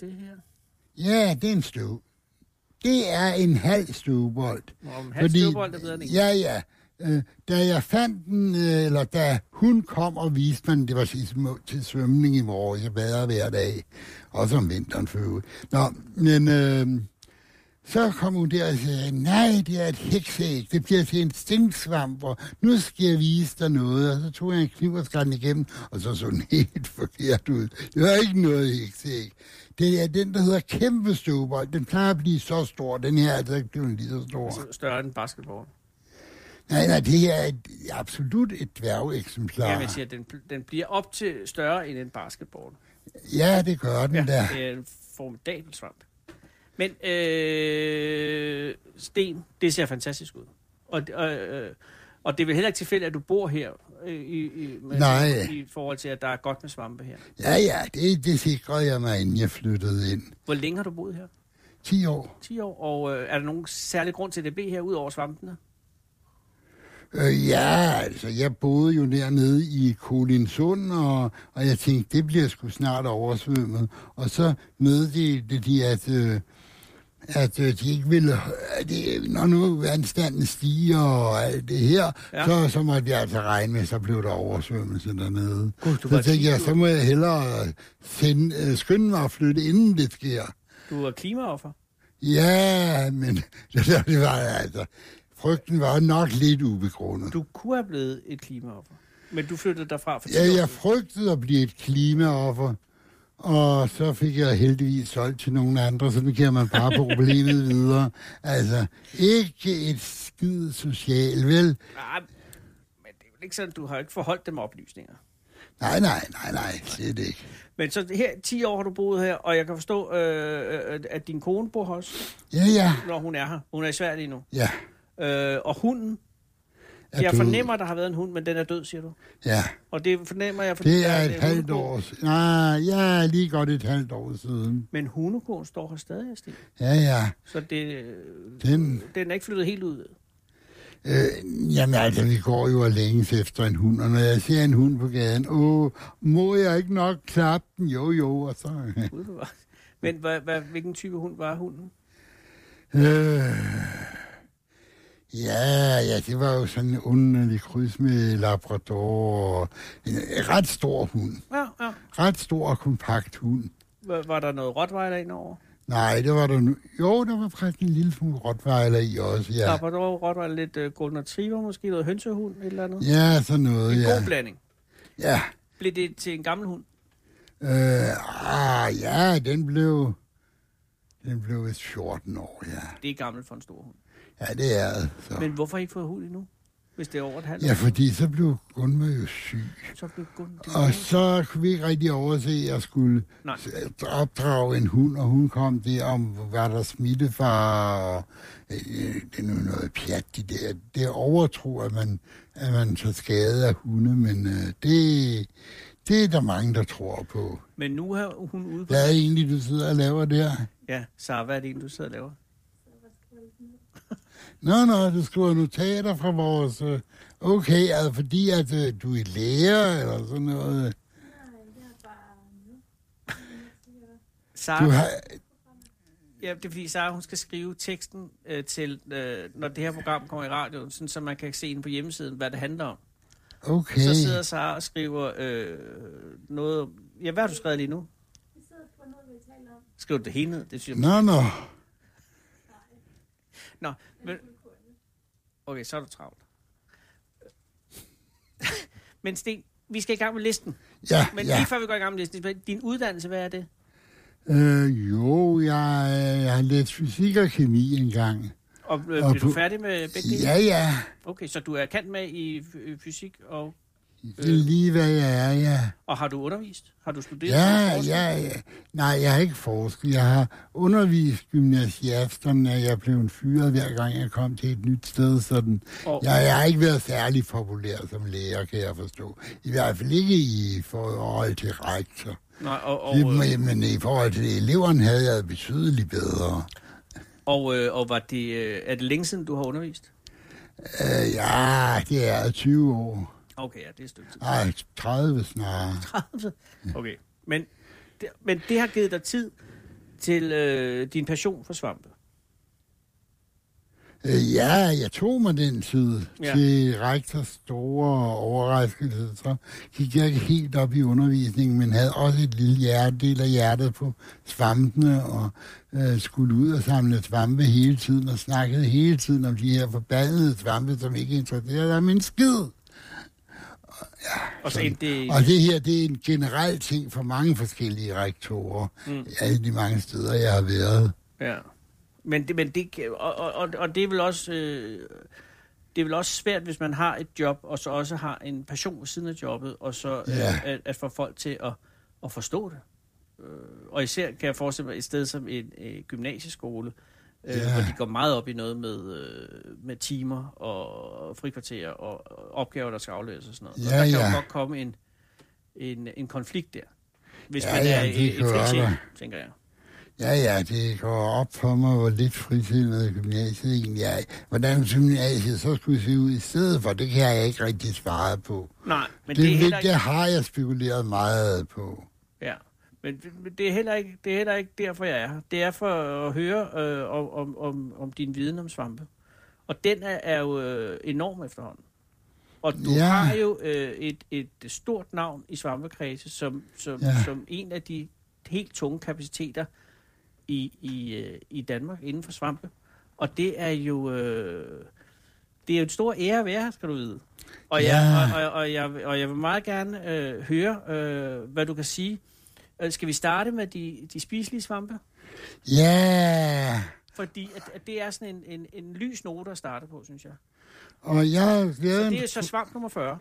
S3: Det her.
S4: ja, det er en støv. Det er en halv støvbold.
S3: Om hans Fordi... støvbold er bedre end ingen.
S4: Ja, ja. Øh, da jeg fandt den, øh, eller da hun kom og viste mig den, det var sidste må- til svømning i morgen, jeg bader hver dag, også om vinteren for øvrigt. Nå, men øh, så kom hun der og sagde, nej, det er et hekseæg, det bliver til en stinksvamp, og nu skal jeg vise dig noget. Og så tog jeg en kniv og skar den igennem, og så så den helt forkert ud. Det var ikke noget hekseæg. Det er den, der hedder kæmpe støvbold. Den plejer at blive så stor. Den her er altså ikke blevet lige så stor.
S3: Altså, Større end basketball.
S4: Nej, nej, det her er et, absolut et
S3: Ja,
S4: dværgeksemplar.
S3: men jeg siger, den, den bliver op til større end en basketball.
S4: ja, det gør den ja. da.
S3: Det er en formidabel svamp. Men øh, sten, det ser fantastisk ud. Og, og, øh, og det er vel heller ikke tilfældigt, at du bor her, øh, i, i, med,
S4: Nej.
S3: i forhold til, at der er godt med svampe her.
S4: Ja, ja, det, det sikrede jeg mig, inden jeg flyttede ind.
S3: Hvor længe har du boet her?
S4: 10 år.
S3: 10 år. Og øh, er der nogen særlig grund til, at det blev her, ud over svampene?
S4: Øh, ja, altså, jeg boede jo dernede i Kolinsund, og, og jeg tænkte, det bliver sgu snart oversvømmet. Og så meddelte de, at, øh, at øh, de ikke ville... At de, når nu vandstanden stiger og alt det her,
S3: Ja.
S4: ja. så, så måtte jeg altså regne med, så blev der oversvømmelse dernede.
S3: Gud, du var
S4: så
S3: ti
S4: tænkte jeg,
S3: år.
S4: så må jeg hellere sende, øh, skynde mig at flytte, inden det sker.
S3: Du er klimaoffer.
S4: Ja, men det var altså... Frygten var nok lidt ubegrundet.
S3: Du kunne have blevet et klimaoffer. Men du flyttede derfra for 10 år
S4: Ja, jeg
S3: siden.
S4: frygtede at blive et klimaoffer, og så fik jeg heldigvis solgt til nogle andre, så nu kan man bare problemet videre. Altså, ikke et skid social, vel?
S3: Nej, Ah, men det er jo ikke sådan, du har jo ikke forholdt dem oplysninger.
S4: Nej, nej, nej, nej, slet ikke.
S3: Men så her, 10 år har du boet her, og jeg kan forstå, øh, øh, at din kone bor her også,
S4: Ja, ja,
S3: når hun er her. Hun er i Sverige lige nu.
S4: ja.
S3: Øh, og hunden,
S4: Er
S3: jeg
S4: død.
S3: fornemmer, at der har været en hund, men den er død, siger du.
S4: Ja,
S3: Og det fornemmer jeg, fordi
S4: det
S3: der
S4: er et
S3: en
S4: halvt
S3: hundebo.
S4: år siden. Nej, ja, lige godt et halvt år siden.
S3: Men hundekoen står her stadig, Sten.
S4: Ja, ja,
S3: Så det, øh,
S4: den...
S3: den er ikke flyttet helt ud.
S4: Øh, jamen altså, vi går jo og længes efter en hund, og når jeg ser en hund på gaden, åh, må jeg ikke nok klappe den? Jo, jo, og så...
S3: Gud, hvor var- Men hvad, hvad, hvilken type hund var hunden?
S4: Øh, Ja, ja, det var jo sådan en underlig kryds med Labrador. og En en ret stor hund.
S3: Ja, ja.
S4: Ret stor og kompakt hund.
S3: Var, var der noget Rottweiler indover?
S4: Nej, det var der nu. Jo, der var faktisk en lille smule rottweiler i også,
S3: Ja.
S4: ja.
S3: Der var dog Rottweiler lidt øh, Golden Retriever, måske noget hønsehund et eller andet.
S4: Ja, sådan
S3: en
S4: noget, ja.
S3: god blanding.
S4: Ja,
S3: Blev det til en gammel hund?
S4: øh, ah, ja den blev... Den blev vist 14 år, ja.
S3: Det er gammelt for en stor hund.
S4: Ja, det er det.
S3: Ja.
S4: Så.
S3: Men hvorfor har I ikke fået hund endnu? Hvis det er over et halvt
S4: Ja,
S3: år,
S4: fordi så blev Gunvor jo syg.
S3: så blev Gun... det
S4: Og
S3: blev-
S4: så kunne vi ikke rigtig overse, at jeg skulle
S3: Nej.
S4: s- opdrage en hund, og hun kom der om, hvad der smitte fra, øh, det er nu noget pjat, de der. Det overtro, at man, at man så skader hunde, men øh, det, det er der mange, der tror på.
S3: Men nu er hun ude på...
S4: Hvad er det egentlig, du sidder og laver der?
S3: Ja, Sara, hvad er det egentlig, du sidder og laver?
S4: Nå, nå, du skriver notater fra vores... øh, Okay, altså fordi at øh, du er lærer eller sådan noget.
S3: Sara,
S4: Du har,
S3: ja, det er fordi Sara, hun skal skrive teksten øh, til, øh, når det her program kommer i radioen, sådan, så man kan se den på hjemmesiden, hvad det handler om.
S4: okay.
S3: Så sidder Sara og skriver øh, noget... om- Ja, hvad har du skrevet lige nu? Skriv det hele ned, det synes jeg.
S4: Nå, nå.
S3: Nå, men... Okay, så er du travlt. men Sten, vi skal i gang med listen.
S4: Ja,
S3: Men ja.
S4: ja.
S3: lige før vi går i gang med listen, din uddannelse, hvad er det?
S4: Øh, jo, jeg, øh, jeg har læst fysik og kemi engang.
S3: Og øh,
S4: Og
S3: bliver du
S4: på-
S3: færdig med begge dele?
S4: Ja, ja.
S3: Okay, så du er kendt med i f- øh, fysik, og,
S4: Det er lige, hvad jeg er, ja.
S3: og har du undervist? Har du studeret?
S4: Ja,
S3: Forsket?
S4: ja, ja. Nej, jeg har ikke forsket. Jeg har undervist gymnasiasterne. Jeg blev fyret, hver gang jeg kom til et nyt sted. Sådan.
S3: Og, ja.
S4: Jeg, jeg har ikke været særlig populær som lærer, kan jeg forstå. I hvert fald ikke i forhold til rektor.
S3: Nej, og, og, øh,
S4: Det- Men i forhold til eleverne havde jeg det betydeligt bedre.
S3: og, øh, og var det, øh, er det længe siden, du har undervist?
S4: Øh, ja, det er 20 år.
S3: Okay, ja, det er et stykke tid.
S4: Ej, 30 snarere.
S3: Okay, men det, men det har givet dig tid til øh, din passion for svampe.
S4: Øh, Ja, jeg tog mig den tid
S3: Ja.
S4: ja. til rektors store overraskelse. Så gik jeg ikke helt op i undervisningen, men havde også et lille hjerte, del af hjertet på svampene, og øh, skulle ud og samle svampe hele tiden, og snakkede hele tiden om de her forbandede svampe, som ikke interesserede mig en skid.
S3: Og så endte det...
S4: Og det her, det er en generel ting for mange forskellige rektorer, mm. alle de mange steder, jeg har været.
S3: Ja. Men det, men det kan- og, og, og- og det er vel også øh, det er vel også svært, hvis man har et job og så også har en passion ved siden af jobbet og så øh,
S4: Ja.
S3: at, at få folk til at, at forstå det. Øh, og især kan jeg forestille mig et sted som en øh, gymnasieskole, øh,
S4: Ja.
S3: hvor de går meget op i noget med øh, med timer og frikvarterer og og opgaver der skal afløses og sådan noget. og
S4: Ja,
S3: der kan
S4: ja.
S3: jo godt komme en en, en konflikt der. Hvis
S4: Ja,
S3: man er
S4: ja, det
S3: et, et
S4: kan være
S3: frisind,
S4: der.
S3: tænker jeg.
S4: Ja, ja, det går op for mig, hvor lidt frisindet gymnasiet egentlig er. Hvordan gymnasiet så skulle se ud i stedet for, det kan jeg ikke rigtig svare på.
S3: Nej, men det,
S4: Men
S3: er
S4: det, det,
S3: heller
S4: det,
S3: ikke...
S4: det har jeg spekuleret meget på.
S3: Ja, men men det er heller ikke, det er heller ikke derfor, jeg er her. Det er for at høre øh, om- om, om, om din viden om svampe. Og den er, er jo øh, enorm efterhånden. Og du ja.
S4: Ja.
S3: har jo øh, et, et stort navn i svampekredse, som, som, ja.
S4: Ja.
S3: som en af de helt tunge kapaciteter i, i, øh, i Danmark inden for svampe. Og det er jo... Øh, det er jo en stor ære at være her, skal du vide. Og,
S4: Ja.
S3: jeg, og, og, og, jeg, og jeg vil meget gerne øh, høre, øh, hvad du kan sige. Øh, skal vi starte med de, de spiselige svampe?
S4: Ja,
S3: Fordi at, at det er sådan en, en, en lys note at starte på, synes jeg.
S4: og jeg har
S3: Så
S4: lavet
S3: det er
S4: en
S3: så svamp nummer 40.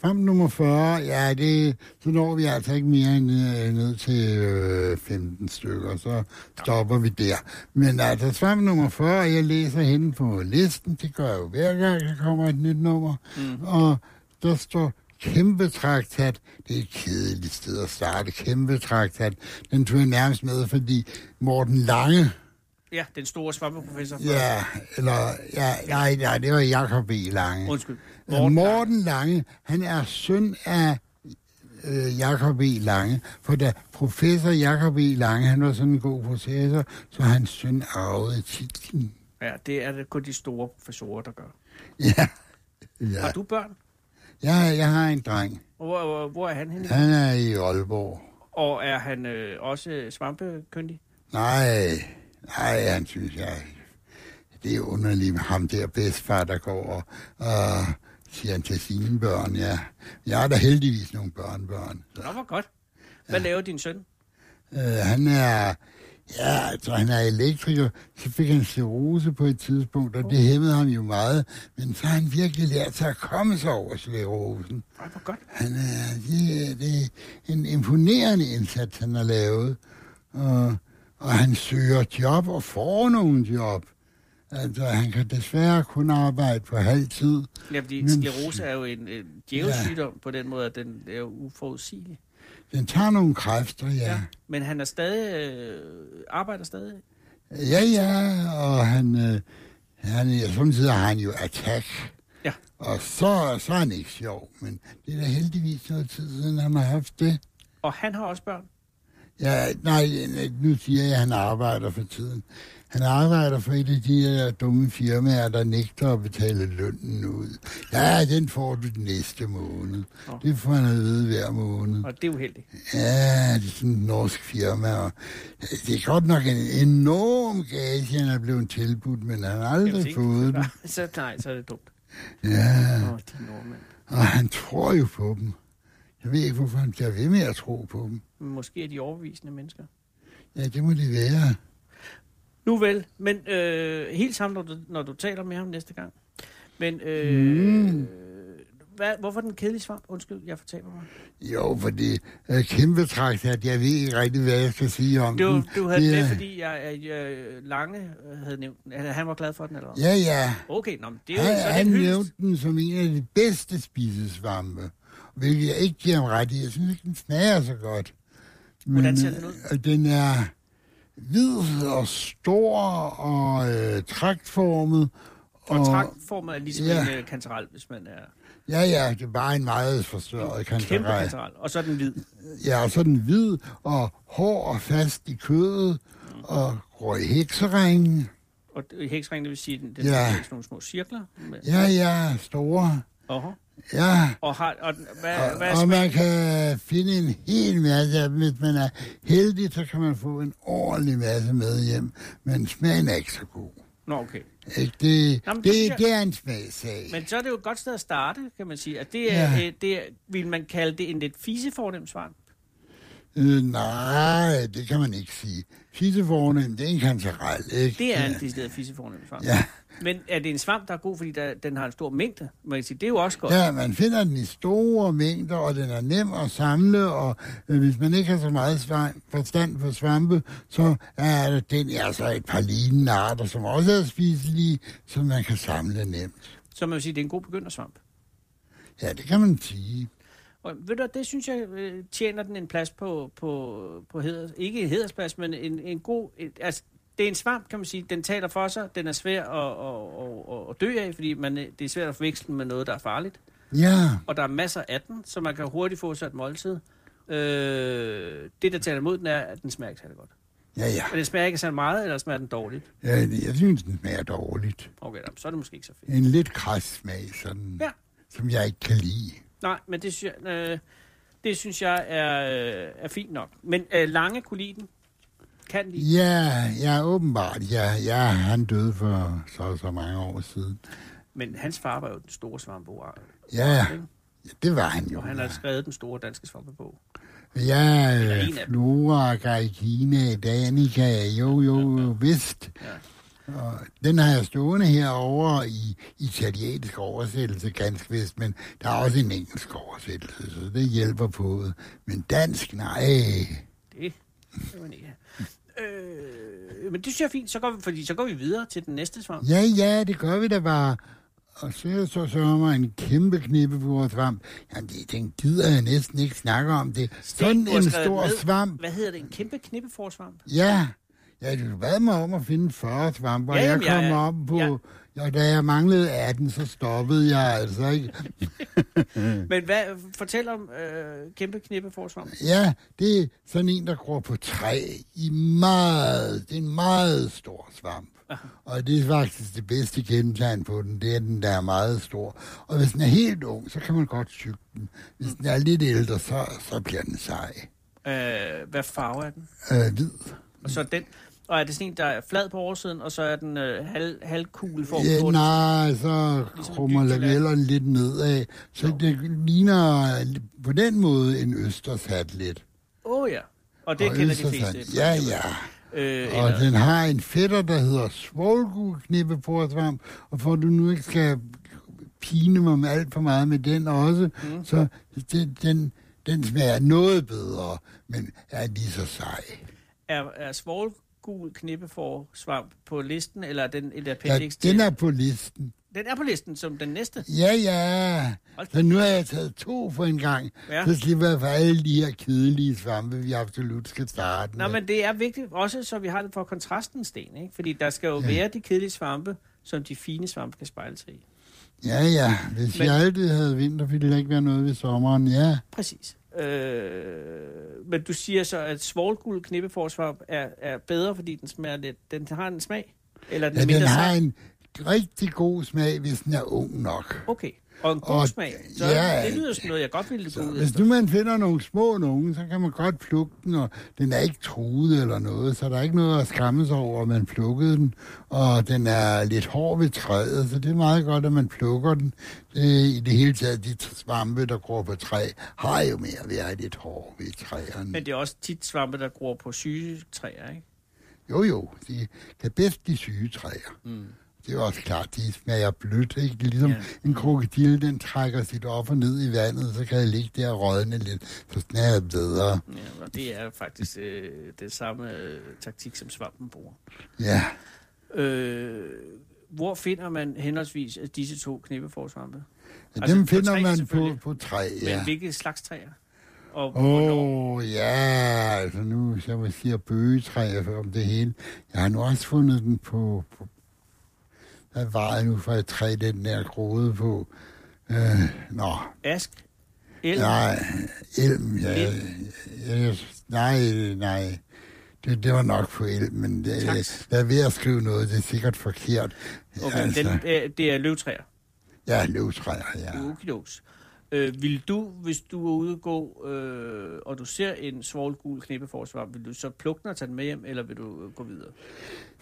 S4: frem nummer 40. Ja, det, så når vi altså ikke mere end øh, ned til øh, 15 stykker, så stopper vi der. Men altså frem nummer 40, jeg læser henne på listen, det gør jeg jo hver gang, der kommer et nyt nummer.
S3: Mm.
S4: og der står kæmpe traktat. Det er et kedeligt sted at starte. Kæmpe traktat. Den tog jeg nærmest med, fordi Morten Lange,
S3: Ja, den store svampeprofessor. fra-
S4: ja, eller, ja, nej, nej, det var Jacob B. Lange.
S3: Undskyld. Morten.
S4: Morten, Morten Lange, han er søn af øh, Jakob E. Lange, for da professor Jakob E. Lange, han var sådan en god professor, så hans søn arvede titlen.
S3: Ja. Ja, det er det kun de store professorer, der gør.
S4: Ja.
S3: Ja.
S4: ja.
S3: Har du børn?
S4: Jeg, jeg har en dreng.
S3: Hvor, hvor, hvor er han henne? Ja.
S4: Han er i Aalborg.
S3: Og er han øh, også svampekyndig?
S4: Nej, nej, han synes jeg. Det er underligt med ham der bedstfar, der går og øh, siger han til sine børn, ja. Jeg har da heldigvis nogle børnebørn. Så,
S3: Nå, hvor godt. Hvad laver din søn?
S4: øh, han er, ja, altså, han er elektriker, så fik han cirrose på et tidspunkt, og det hæmmede ham jo meget. Men så har han virkelig lært sig at komme sig over cirrosen.
S3: Ej, hvor godt.
S4: Han er, det, er- det er en imponerende indsats, han har lavet. Og, og han søger job og får nogle job. Altså, han kan desværre kun arbejde på halv tid.
S3: Ja, fordi
S4: Men-
S3: sklerose er jo en, en djævelsygdom ja. på den måde, at den er jo uforudsigelig.
S4: Den tager nogle kræfter, ja.
S3: Men han er stadig, øh, arbejder stadig.
S4: Ja, ja, og han... Øh, han ja, samtidig har han jo attack.
S3: Ja.
S4: Og så, så er han ikke sjov, men det er da heldigvis noget tid siden, han har haft det.
S3: Og han har også børn.
S4: Ja, nej, nu siger jeg, at han arbejder for tiden. Han arbejder for et af de her dumme firmaer, der nægter at betale lønnen ud. Ja, den får du den næste måned.
S3: Nå.
S4: Det får han at vide hver måned.
S3: Og det er uheldigt.
S4: Ja, det er sådan et norsk firma. Og det er godt nok en enorm gage, han er blevet tilbudt, men han har
S3: Jamen,
S4: aldrig
S3: tænk.
S4: fået den.
S3: så, nej, så er det dumt.
S4: Ja,
S3: Åh, de nordmænd.
S4: og han tror jo på dem. Jeg ved ikke, hvorfor han bliver ved med at tro på dem.
S3: Måske er de overbevisende mennesker.
S4: Ja, det må det være.
S3: Nu vel, men øh, helt sammen, når du, når du taler med ham næste gang. Men øh, mm. hvad, hvorfor den kedelige svamp? Undskyld, jeg fortaber mig.
S4: Jo, fordi øh, kæmpe trakt, at jeg ved ikke rigtig, hvad jeg skal sige om
S3: Du,
S4: den.
S3: du havde det,
S4: er-
S3: det fordi jeg, jeg, jeg Lange øh, havde nævnt den. Altså, han var glad for den, eller hvad?
S4: Ja, ja.
S3: Okay, nå, men det er jo
S4: Han,
S3: så er
S4: han
S3: det hyldest.
S4: nævnte den som en af de bedste spisesvampe, hvilket jeg ikke giver ham ret i. Jeg synes ikke, den smager så godt.
S3: Hvordan ser den ud?
S4: øh, Den er hvid og stor og øh, traktformet.
S3: Og traktformet er ligesom
S4: Ja.
S3: en uh, kanteral, hvis man er
S4: Ja, ja, det er bare en meget forstørret kantarel.
S3: kæmpe kanteral. Og så er den hvid.
S4: Ja, og så er den hvid og hård og fast i kødet og går i hekseringen.
S3: Og i heksringen, det vil sige, den, den
S4: Ja.
S3: ja. har sådan nogle små cirkler. Med, ja.
S4: Ja, ja, store. Ja,
S3: Og, har, og den, hvad,
S4: og,
S3: hvad
S4: og
S3: smager-
S4: man kan finde en hel masse af dem. Hvis man er heldig, så kan man få en ordentlig masse med hjem. Men smagen er ikke så god.
S3: Nå, okay.
S4: Ikke? Det,
S3: Jamen, det
S4: det, det,
S3: synes
S4: er en smagssag.
S3: Men så er det jo et godt sted at starte, kan man sige. At det er,
S4: Ja.
S3: ja. det er, vil man kalde det en lidt fisefornem svamp?
S4: Øh, nej, det kan man ikke sige. Fissefornem, det er en kantarel, ikke?
S3: Det er en decideret fisefornem svamp.
S4: Ja.
S3: Men er det en svamp, der er god, fordi der, den har en stor mængde? Man kan sige, det er jo også godt.
S4: Ja, man finder den i store mængder, og den er nem at samle, og øh, hvis man ikke har så meget svamp, forstand på svampe, så er det- den altså et par lignende arter, som også er spiselige, som man kan samle nemt.
S3: Så man vil sige, det er en god begyndersvamp.
S4: Ja, det kan man sige.
S3: Og ved du, hvad, det synes jeg øh, tjener den en plads på, på, på heders, ikke en hedersplads, men en, en god... En, altså, det er en svamp, kan man sige. Den taler for sig. Den er svær at, at, at, at, at dø af, fordi man, øh, det er svært at forveksle den med noget, der er farligt.
S4: Ja,
S3: Og der er masser af den, så man kan hurtigt få sig et måltid. Øh, det, der taler imod den, er, at den smager ikke særlig godt.
S4: ja, ja.
S3: Men den smager ikke så meget, eller smager den dårligt.
S4: ja jeg synes, den smager dårligt.
S3: Okay, da, så er det måske ikke så fedt.
S4: En lidt kras smag, sådan,
S3: Ja.
S4: som jeg ikke kan lide.
S3: Nej, men det synes jeg, øh, det synes jeg er, øh, er fint nok. Men øh, lange kunne lide den. Kan lide.
S4: Ja, ja, åbenbart. Ja, ja, han døde for så og så mange år siden.
S3: Men hans far var jo den store svampeoral,
S4: Ja, det var han jo.
S3: og han har
S4: ja.
S3: skrevet den store danske svampebog.
S4: Ja,
S3: Eller en af dem.
S4: Flora, Gaikina, Danica, jo, jo, jo, vist. Og den har jeg stående herovre i italiensk oversættelse, ganske vist, men der er også en engelsk oversættelse, så det hjælper på det. Men dansk, nej.
S3: Det kan man ikke have. øh, Men det synes jeg er fint, så går, vi, fordi så går vi videre til den næste svamp.
S4: Ja, ja, det gør vi da bare. Og så så sørger mig en kæmpe knippe på vores svamp. Jamen, det, den gider jeg næsten ikke snakke om. Det er sådan
S3: du har
S4: en
S3: skrevet
S4: stor
S3: ned.
S4: svamp.
S3: Hvad hedder det? En kæmpe knippeforsvamp?
S4: Ja, ja du bad mig om at finde 40 svampe, og
S3: Ja,
S4: jeg
S3: jamen,
S4: kom
S3: jeg-
S4: op på...
S3: jeg-
S4: Jeg, Og da jeg manglede 18, så stoppede jeg altså, ikke?
S3: Men hvad, fortæl om øh, kæmpe knippe forsvar.
S4: Ja, det er sådan en, der gror på træ i meget, det er en meget stor svamp. Og det er faktisk det bedste kendetegn på den, det er den, der er meget stor. Og hvis den er helt ung, så kan man godt tygge den. Hvis
S3: Mm.
S4: den er lidt ældre, så, så bliver den sej.
S3: Øh, hvad farve er den?
S4: Øh, hvid.
S3: Og så den. Og er det sådan en, der er flad på oversiden, og så er den øh, halv, halvkugleformet
S4: Ja,
S3: på den?
S4: nej, så
S3: Ligesom en
S4: krummer
S3: dyb tallerken.
S4: lamellerne lidt nedad. Så det ligner på den måde en østershat lidt.
S3: Åh oh, ja. Og det
S4: Og
S3: kender de
S4: østershat-
S3: fleste.
S4: Ja, ja.
S3: Øh,
S4: Og
S3: eller,
S4: den har en fætter, der hedder svolgulknippe på svamp, og for at du nu ikke skal pine mig med alt for meget med den også, mm. så den, den, den smager noget bedre, men er lige så sej.
S3: er, er svovlgul knippefor svamp på listen, eller er den et
S4: Ja,
S3: appendix? til-
S4: den er på listen.
S3: den er på listen som den næste.
S4: Ja, ja.
S3: Hold
S4: Så nu har jeg taget to for en gang.
S3: Ja.
S4: Ja. Så slipper jeg for alle de her kedelige svampe, vi absolut skal starte
S3: Nå,
S4: med.
S3: men det er vigtigt også, så vi har det for kontrasten, Sten. Ikke? Fordi der skal jo ja. være de kedelige svampe, som de fine svampe skal spejle sig i.
S4: Ja, ja. Hvis
S3: Men-
S4: men... jeg altid havde vinter, ville der ikke være noget ved sommeren. Ja,
S3: Præcis. Øh, men du siger så, at svovlgul knippeforsvamp er, er bedre, fordi den, smager lidt, den har en smag? Eller den,
S4: ja
S3: er mindre
S4: den har
S3: sej?
S4: en rigtig god smag, hvis den er ung nok.
S3: Okay, og en god
S4: Og-
S3: smag. Så
S4: ja,
S3: det lyder som noget, jeg godt ville gå ud
S4: Hvis
S3: efter.
S4: nu man finder nogle små nogen, så kan man godt plukke den, og den er ikke truet eller noget, så der er ikke noget at skamme sig over, at man plukkede den, og den er lidt hård ved træet, så det er meget godt, at man plukker den. Det, I det hele taget, de svampe, der gror på træ, har jo mere ved at være lidt hårde ved træerne.
S3: Men det er også tit svampe, der gror på syge træer, ikke?
S4: Jo, jo, de kan bedst de syge træer. Mm. Det er jo også klart, de smager blødt, ikke? Det er ligesom
S3: Ja.
S4: ja. en krokodille, den trækker sit offer ned i vandet, så kan det ligge der og rådne lidt, så smager det bedre.
S3: Ja, og det er faktisk øh, den samme øh, taktik, som svampen bruger.
S4: Ja.
S3: Øh, hvor finder man henholdsvis disse to knippeforsvampe?
S4: Ja,
S3: Altså,
S4: Dem
S3: på
S4: finder
S3: træ
S4: man på,
S3: selvfølgelig.
S4: på træ,
S3: Ja. Men
S4: ja.
S3: hvilke slags træer? Og hvornår?
S4: Åh, oh, ja, altså nu, hvis jeg må sige bøgetræ om det hele. Jeg har nu også fundet den på... på hvad var det nu for et træ, den der groede på? Øh, nå,
S3: Ask? Elm?
S4: nej, elm, ja. Jeg, nej, nej. Det, det var nok på elm, men det,
S3: Taks.
S4: jeg er ved at skrive noget, det er sikkert forkert.
S3: Okay, altså. den, øh, det er løvtræer.
S4: ja, løvtræer, ja.
S3: Okidoks. Øh, vil du, hvis du er ude at gå, øh, og du ser en svovlgul knippeforsvamp, vil du så plukke den og tage den med hjem, eller vil du øh, gå videre?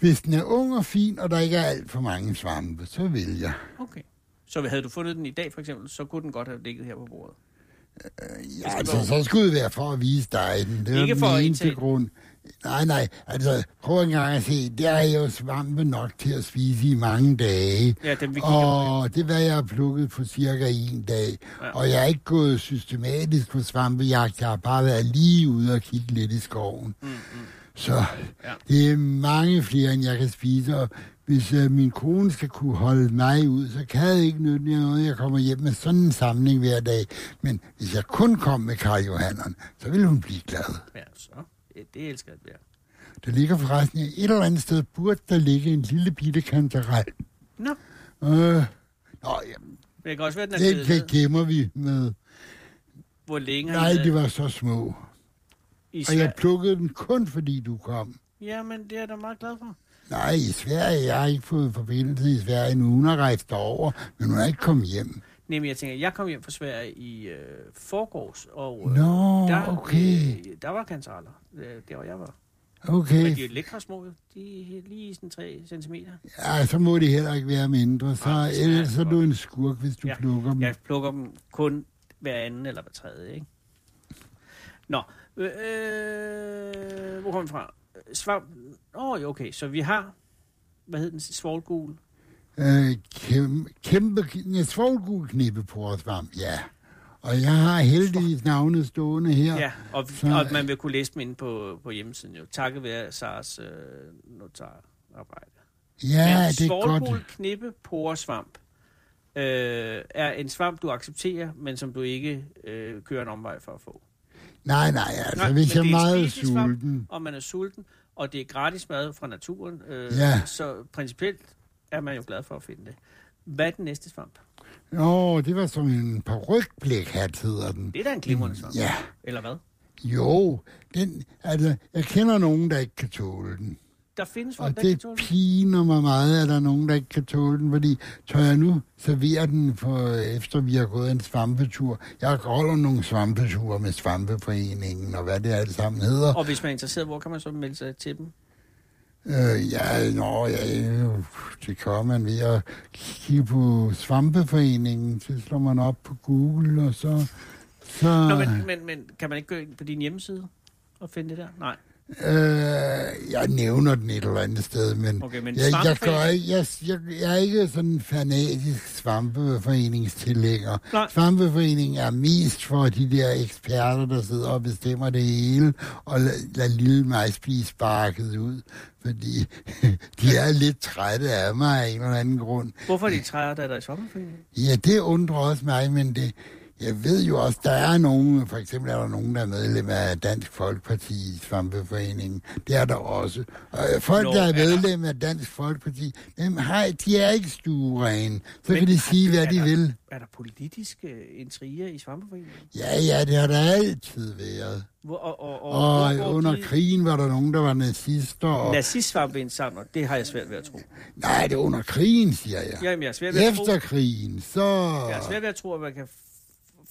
S4: Hvis den er ung og fin, og der ikke er alt for mange svampe, så vil jeg.
S3: Okay. Så havde du fundet den i dag, for eksempel, så kunne den godt have ligget her på bordet.
S4: Ja, altså, så skulle det være for at vise dig den. Det er
S3: Ikke
S4: den
S3: for at
S4: eneste
S3: indtage-
S4: grund. Nej, nej, altså prøv en gang at se, der er jo svampe nok til at spise i mange dage.
S3: Ja, den vi kigger på.
S4: Og det er, hvad jeg har plukket på cirka en dag.
S3: Ja.
S4: Ja. Og jeg er ikke gået systematisk på svampejagt, jeg har bare været lige ude og kigge lidt i skoven. Mm, mm. Så
S3: Ja.
S4: ja. det er mange flere, end jeg kan spise, og hvis øh, min kone skal kunne holde mig ud, så kan jeg ikke nytte noget, jeg kommer hjem med sådan en samling hver dag. Men hvis jeg kun kom med Karl Johanneren, så ville hun blive glad.
S3: Ja, så. Ja, Det elsker jeg at være.
S4: Der ligger forresten et eller andet sted, burde der ligge en lille bitte kantarel.
S3: Nå,
S4: Øh, nå, jamen,
S3: men det kan også være, den er
S4: det,
S3: blevet
S4: det
S3: ned.
S4: gemmer vi med.
S3: Hvor længe har
S4: Nej,
S3: den været
S4: de var så små.
S3: i
S4: Og jeg
S3: Sverige?
S4: plukkede den kun, fordi du kom.
S3: Jamen, det er jeg da meget glad for.
S4: Nej, i Sverige. Jeg har ikke fået forbindelse i Sverige endnu. Hun har rejst over, men hun er ikke kommet hjem.
S3: Nej, men jeg tænker, jeg kom hjem fra Sverige i øh, forgårs, og øh,
S4: Nå,
S3: der,
S4: okay.
S3: øh, der var kantareller, øh, der hvor jeg var. Men de er
S4: Okay.
S3: jo lækre små, jo. de er helt lige sådan 3 centimeter.
S4: Ja, så må det heller ikke være mindre. Så,
S3: Nej,
S4: ellers så er
S3: godt.
S4: du en skurk, hvis du
S3: Ja,
S4: plukker dem.
S3: Jeg plukker dem kun hver anden eller hver tredje, ikke? Nå, øh, øh, hvor kom vi fra? Svamp. Åh, oh, okay, så vi har, hvad hed den, svolgul.
S4: Øh, kæmpe, kæmpe ja, svoglgulknippe på os varm. Ja. Og jeg har heldigvis navnet stående her.
S3: Ja, ja og,
S4: så-
S3: og, man vil kunne læse dem inde på, på hjemmesiden jo. Takket være Sars øh, notararbejde.
S4: ja det er
S3: svortgul
S4: godt.
S3: knippe poresvamp øh, er en svamp, du accepterer, men som du ikke øh, kører en omvej for at få.
S4: Nej, nej, altså,
S3: Nej,
S4: nej,
S3: men
S4: hvis jeg er
S3: det er
S4: meget
S3: spisesvamp.
S4: sulten.
S3: Og man er sulten, og det er gratis mad fra naturen, øh,
S4: Ja.
S3: så principielt er man jo glad for at finde det. Hvad er den næste svamp?
S4: Nå, det var som en parykblækhat, hedder den.
S3: Det er da en glimrende svamp.
S4: Ja,
S3: Eller hvad?
S4: jo. Den, altså, jeg kender nogen, der ikke kan tåle den.
S3: Der findes folk,
S4: Og
S3: der ikke kan
S4: det
S3: tåle den.
S4: piner mig meget, at der er nogen, der ikke kan tåle den, fordi tør jeg nu servere den, for, efter vi har gået en svampetur. Jeg holder nogle svampeture med svampeforeningen, og hvad det alt sammen hedder.
S3: Og hvis man er interesseret, hvor kan man så melde sig til dem?
S4: Øh, ja, nå, ja, øh, det kan man ved at kigge på Svampeforeningen. Så slår man op på Google, og så... så
S3: Nå, men, men, men kan man ikke gå ind på din hjemmeside og finde det der? Nej.
S4: øh, jeg nævner den et eller andet sted, men...
S3: Okay, men
S4: jeg, jeg,
S3: svampeforening-
S4: gør, ikke- jeg, jeg, jeg er ikke sådan en fanatisk svampeforeningstillænger.
S3: Nej.
S4: Svampeforeningen er mest for de der eksperter, der sidder og bestemmer det hele, og lader lad lille mig blive sparket ud, fordi de er lidt trætte af mig af en eller anden grund.
S3: Hvorfor er de træer, der er der i sommerferien?
S4: Ja, det undrer også mig, men det, jeg ved jo også, der er nogen, for eksempel er der nogen, der er medlem af Dansk Folkeparti i Svampeforeningen. Det er der også. Og øh, folk,
S3: Nå,
S4: der
S3: er
S4: er
S3: der-
S4: medlem af Dansk Folkeparti, dem har, de er ikke stuerene. Så
S3: Men
S4: kan de
S3: har
S4: sige,
S3: de-
S4: hvad
S3: er
S4: de
S3: der-
S4: vil.
S3: Er der politiske intriger i svampeforeningen?
S4: Ja, ja, det har der altid været.
S3: Hvor, og, og, og,
S4: Og
S3: hvor- hvor
S4: under
S3: de-
S4: krigen var der nogen, der var nazister. Og...
S3: Nazistsvampeindsamler, det har jeg svært ved at tro.
S4: Nej, det er under krigen, siger jeg.
S3: Jamen, jeg har svært ved at tro,
S4: Efter krigen, så...
S3: jeg har svært ved at tro at man kan f-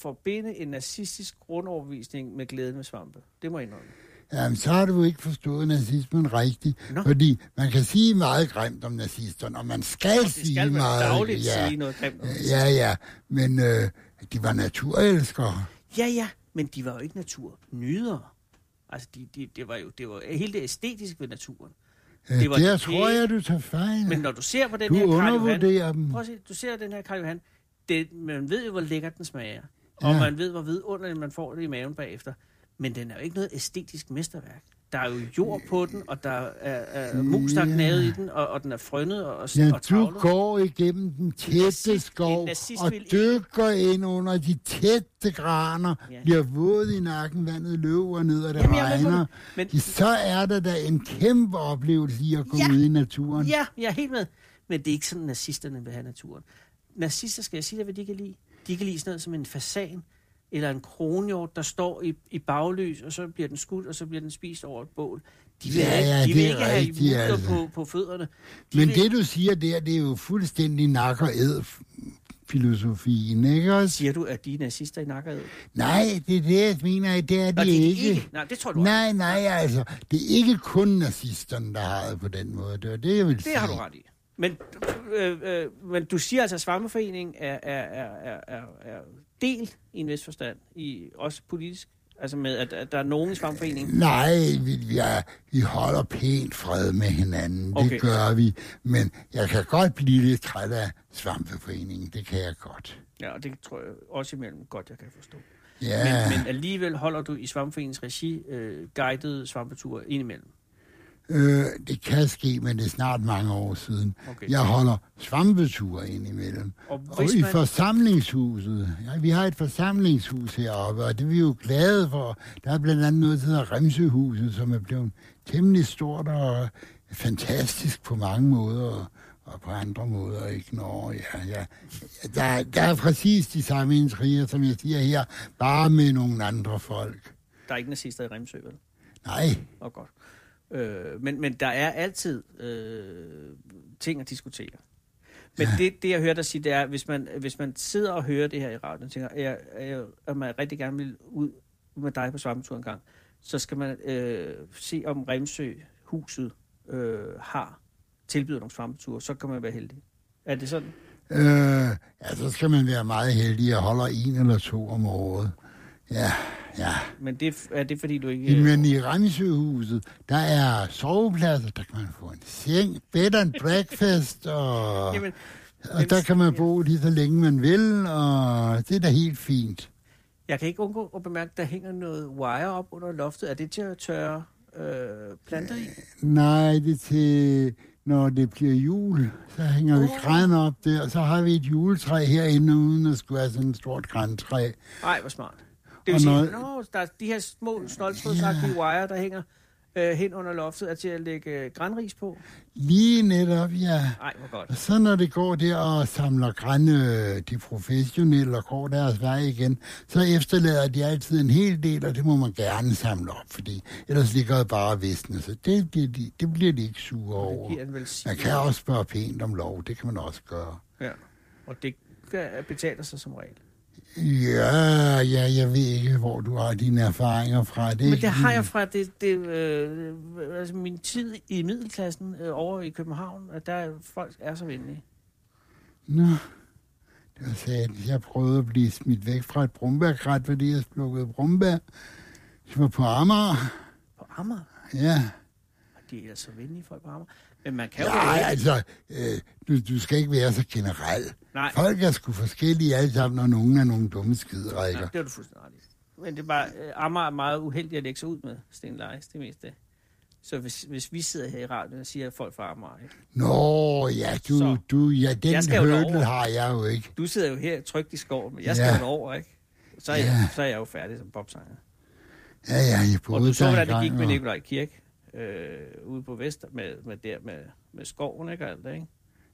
S3: forbinde en nazistisk grundovervisning med glæden med svampe. Det må jeg indrømme.
S4: Jamen, så har du ikke forstået nazismen rigtigt.
S3: Nå.
S4: Nå. Fordi man kan sige meget grimt om nazisterne, og man skal,
S3: Og det
S4: sige
S3: skal man
S4: meget.
S3: dagligt
S4: ja.
S3: sige noget grimt om.
S4: Ja, ja. Men øh, de var naturelskere.
S3: Ja, ja, men de var jo ikke naturnydere. Altså, de, de, det var jo det var hele det æstetiske ved naturen.
S4: Øh,
S3: Det var
S4: Der
S3: de
S4: tror
S3: pæne.
S4: jeg, du tager fejl.
S3: Men når du ser på den
S4: Mm. Du
S3: her Karl Johan...
S4: undervurderer dem.
S3: Prøv at se, du ser den her Karl Johan. Det, man ved jo, hvor lækker den smager. Og
S4: Ja.
S3: man ved, hvor vidunderligt man får det i maven bagefter. Men den er jo ikke noget æstetisk mesterværk. Der er jo jord på den, og der er, er mus, der er knaget i den, og, og den er frønnet og, og,
S4: Ja,
S3: og
S4: du
S3: travlet.
S4: går igennem den
S3: nazist-
S4: tætte
S3: en
S4: skov
S3: nazist
S4: og
S3: vil ikke-
S4: dykker ind under de tætte graner,
S3: Ja.
S4: bliver våd i nakken, vandet løber ned, og det
S3: Jamen, jeg er med på
S4: regner.
S3: det, men-
S4: Ja, Så er der da en kæmpe oplevelse i at gå
S3: Ja.
S4: ud i naturen.
S3: Ja, jeg er helt med. Men det er ikke sådan, nazisterne vil have naturen. Nazister, skal jeg sige dig, hvad de kan lide? De kan lide sådan noget som en fasan, eller en kronhjort, der står i, i baglys, og så bliver den skudt, og så bliver den spist over et bål. De vil,
S4: Ja,
S3: have,
S4: ja,
S3: de vil
S4: det er
S3: ikke have
S4: rigtigt,
S3: muskler
S4: altså.
S3: på, på fødderne. De
S4: Men
S3: vil,
S4: det, du siger der, det er jo fuldstændig nak og æd filosofien, ikke også?
S3: Siger du, at de er nazister i nakkeret?
S4: Nej, det er det, jeg mener, det er de,
S3: Nej, det er de
S4: ikke.
S3: ikke. Nej, det tror du også.
S4: Nej, nej, altså, det er ikke kun nazisterne, der har det på den måde. Det var det, jeg ville
S3: Det
S4: sige.
S3: har du ret i. Men, øh, øh, men du siger altså, at Svammeforeningen er, er, er, er, er, er delt i en vis forstand, i, også politisk. Altså med, at, at der er nogen i Svammeforeningen,
S4: Nej, vi, vi, er, vi holder pænt fred med hinanden.
S3: Okay.
S4: Det gør vi. Men jeg kan godt blive lidt træt af svampeforeningen. Det kan jeg godt.
S3: Ja, og det tror jeg også imellem godt, jeg kan forstå.
S4: Ja.
S3: Ja. Men, men alligevel holder du i Svampeforeningens regi øh, guidede svampeture indimellem.
S4: Øh, det kan ske, men det er snart mange år siden.
S3: Okay.
S4: Okay. Jeg holder svampeture indimellem.
S3: Og
S4: Og, og
S3: hvis
S4: i
S3: man-
S4: forsamlingshuset. Ja, vi har et forsamlingshus heroppe, og det er vi jo glade for. Der er blandt andet noget, der hedder Remsehuset, som er blevet temmelig stort og fantastisk på mange måder. og- Og på andre måder ikke. Nå, ja, ja. Der, der er præcis de samme intriger, som jeg siger her, bare med nogle andre folk.
S3: Der er ikke nazister i Remsø, vel?
S4: Nej,
S3: Og godt. Øh, men, men der er altid øh, ting at diskutere. Men ja. det, det, jeg hører dig sige, det er, hvis man, hvis man sidder og hører det her i radioen, og tænker, at jeg, jeg, at man rigtig gerne vil ud med dig på svampetur en gang, så skal man øh, se, om Remsø-huset øh, har tilbyder nogle svampeture, så kan man være heldig. Er det sådan?
S4: Øh, ja, så skal man være meget heldig. Jeg holder en eller to om året. Ja, ja.
S3: Men det, er det fordi, du ikke... øh,
S4: Men i Ramsøhuset, der er sovepladser, der kan man få en seng, bed and breakfast, og,
S3: Jamen,
S4: og der kan man bo lige så længe man vil, og det er da helt fint.
S3: jeg kan ikke undgå at bemærke, at der hænger noget wire op under loftet. Er det til at tørre øh, planter i?
S4: Nej, det er til, når det bliver jul, så hænger vi græn op der, og så har vi et juletræ herinde, uden at skulle have sådan et stort græntræ.
S3: Nej, hvor smart. Det vil
S4: Og
S3: sige,
S4: noget-
S3: når... der er de her små snoldsfrødsagtige wire, der hænger, øh, hen under loftet er til at lægge øh, granris på.
S4: Lige netop, ja.
S3: Nej, hvor godt.
S4: Og så når det går der og samler grænne, øh, de professionelle, og går deres vej igen, så efterlader de altid en hel del, og det må man gerne samle op, fordi ellers ligger det bare visne, så det bliver de, det bliver de ikke sure
S3: Det
S4: over.
S3: giver en velsignelse.
S4: Man kan også spørge pænt om lov, det kan man også gøre.
S3: Ja. Og det øh, betaler sig som regel.
S4: Ja, ja, jeg ved ikke, hvor du har dine erfaringer fra. Det er
S3: Men
S4: ikke
S3: det har
S4: lige-
S3: jeg fra det, det, øh, altså min tid i middelklassen øh, over i København, at der er folk er så venlige.
S4: Nå, det var satans. Jeg prøvede at blive smidt væk fra et brumbærkrat, fordi jeg plukkede brumbær. Jeg var på Amager.
S3: På Amager,
S4: Ja.
S3: og de er ellers så venlige folk på Amager. Men man kan jo
S4: Nej,
S3: være-
S4: altså, øh, du, du skal ikke være så generel.
S3: Nej.
S4: Folk er sgu forskellige alle sammen, og nogen er nogle dumme skidrækker.
S3: Nej, det er du fuldstændig ret i. Men det er bare, øh, Amager er meget uheldig at lægge sig ud med, Sten Leis, det meste. Så hvis, hvis vi sidder her i radioen og siger, at folk fra Amager, ikke?
S4: Nå, ja, du,
S3: Så.
S4: du, ja, den
S3: Jeg skal jo
S4: hørtel
S3: derover.
S4: har jeg jo ikke.
S3: du sidder jo her trygt i skoven, men jeg skal
S4: Ja.
S3: jo over, ikke? Så er, jeg, så er jeg jo færdig som popsanger.
S4: Ja, ja, jeg
S3: Og
S4: boede
S3: du så,
S4: der
S3: hvordan det
S4: engang,
S3: gik med
S4: og-
S3: Nikolaj Kirk øh, ude på Vester med, med, der, med, med skoven, ikke? Og alt det, ikke?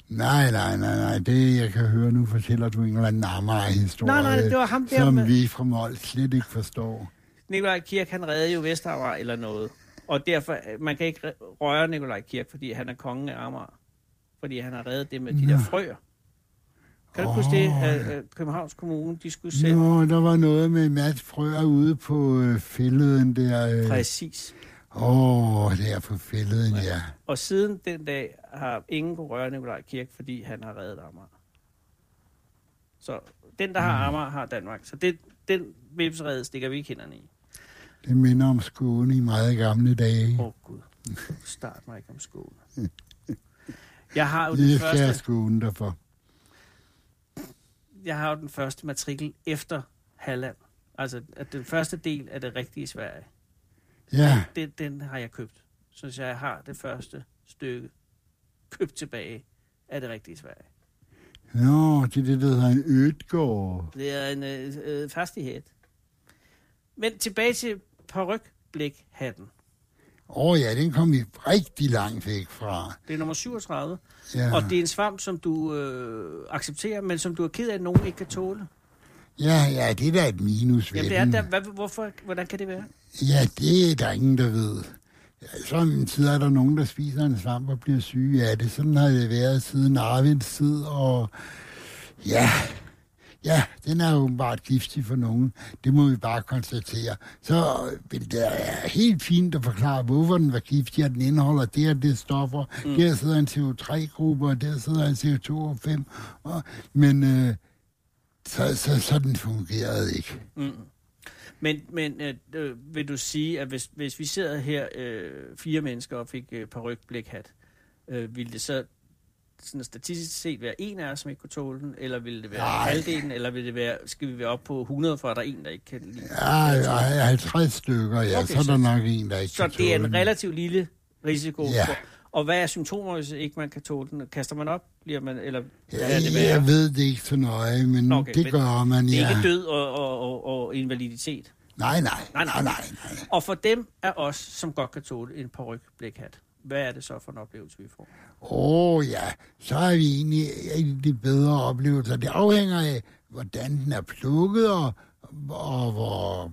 S4: Nej, nej, nej, nej. Det, jeg kan høre nu, fortæller du en eller anden Amager-historie,
S3: Nej, nej, det var ham der
S4: som
S3: med-
S4: vi fra Mål slet ikke forstår.
S3: Nikolaj Kirk, han redde jo Vestamager eller noget. Og derfor, øh, man kan ikke re- røre Nikolaj Kirk, fordi han er kongen af Amager. Fordi han har reddet det med de der frøer. Kan du huske det, at øh, Københavns Kommune, de skulle sælge?
S4: Nå, der var noget med Mads Frøer ude på øh, fælleden der. øh.
S3: Præcis.
S4: Åh, øh. oh, der på fælleden, ja.
S3: Og siden den dag har ingen kunne røre Nikolaj Kirk, fordi han har reddet Amager. Så den, der har Amager, har Danmark. Så det, den vipserede stikker vi ikke hænderne i.
S4: Det minder om Skåne i meget gamle dage.
S3: Åh oh, gud, start mig ikke om skolen. Jeg har jo
S4: Det
S3: den
S4: skal jeg
S3: første,
S4: sgu undre dig for.
S3: jeg har jo den første matrikel efter Halland. Altså at den første del af det rigtige Sverige.
S4: Ja,
S3: Den, den har jeg købt. Så jeg har det første stykke købt tilbage af det rigtige Sverige.
S4: nå, det er det, der hedder en ødgård.
S3: Det er en øh, øh, fastighed. Men tilbage til parykblikhatten.
S4: Åh oh, ja, den kom vi rigtig langt væk fra.
S3: Det er nummer 37,
S4: Ja,
S3: og det er en svamp, som du øh, accepterer, men som du er ked af, at nogen ikke kan tåle.
S4: ja, ja det er da et minus ved
S3: Jamen, det er
S4: den.
S3: der, hvad, hvorfor, hvordan kan det være?
S4: Ja, det er der ingen, der ved. Altså, Samtidig er der nogen, der spiser en svamp og bliver syge af det. Sådan har det været siden Arvinds tid, og ja, ja, den er åbenbart giftig for nogen. Det må vi bare konstatere. Så vil det er helt fint at forklare, hvorfor den var giftig, at den indeholder det og det stoffer. Mm. Der sidder en CO3-gruppe, og der sidder en CO2-5. Og, men øh, så, så, så den fungerede ikke.
S3: Men, men øh, øh, vil du sige, at hvis, hvis vi sidder her øh, fire mennesker og fik øh, parykblikhat, øh, ville det så sådan statistisk set være en af os, som ikke kunne tåle den, eller ville det være
S4: Nej.
S3: halvdelen, eller ville det være, skal vi være op på 100, for at der er en, der ikke kan lide den?
S4: Ja, ja, 50 stykker, ja.
S3: Okay,
S4: Okay, så er
S3: så-
S4: der nok en, der ikke
S3: Så
S4: kan
S3: det er en
S4: tåle den.
S3: relativt lille risiko.
S4: Ja.
S3: For, og hvad er symptomer, hvis ikke man kan tåle den? Kaster man op? Bliver man, eller hvad er det
S4: Ja,
S3: værre?
S4: jeg ved det ikke så nøje, men
S3: Nå,
S4: okay,
S3: okay,
S4: det
S3: men
S4: gør man,
S3: Det
S4: ja.
S3: er ikke død og, og, og, og invaliditet.
S4: Nej, nej,
S3: Nej, nej.
S4: nej, nej, nej.
S3: Og for dem af os, som godt kan tåle en parykblikhat, hvad er det så for en oplevelse, vi får?
S4: Åh oh, ja, så er vi egentlig i de bedre oplevelser. Det afhænger af, hvordan den er plukket og, og hvor,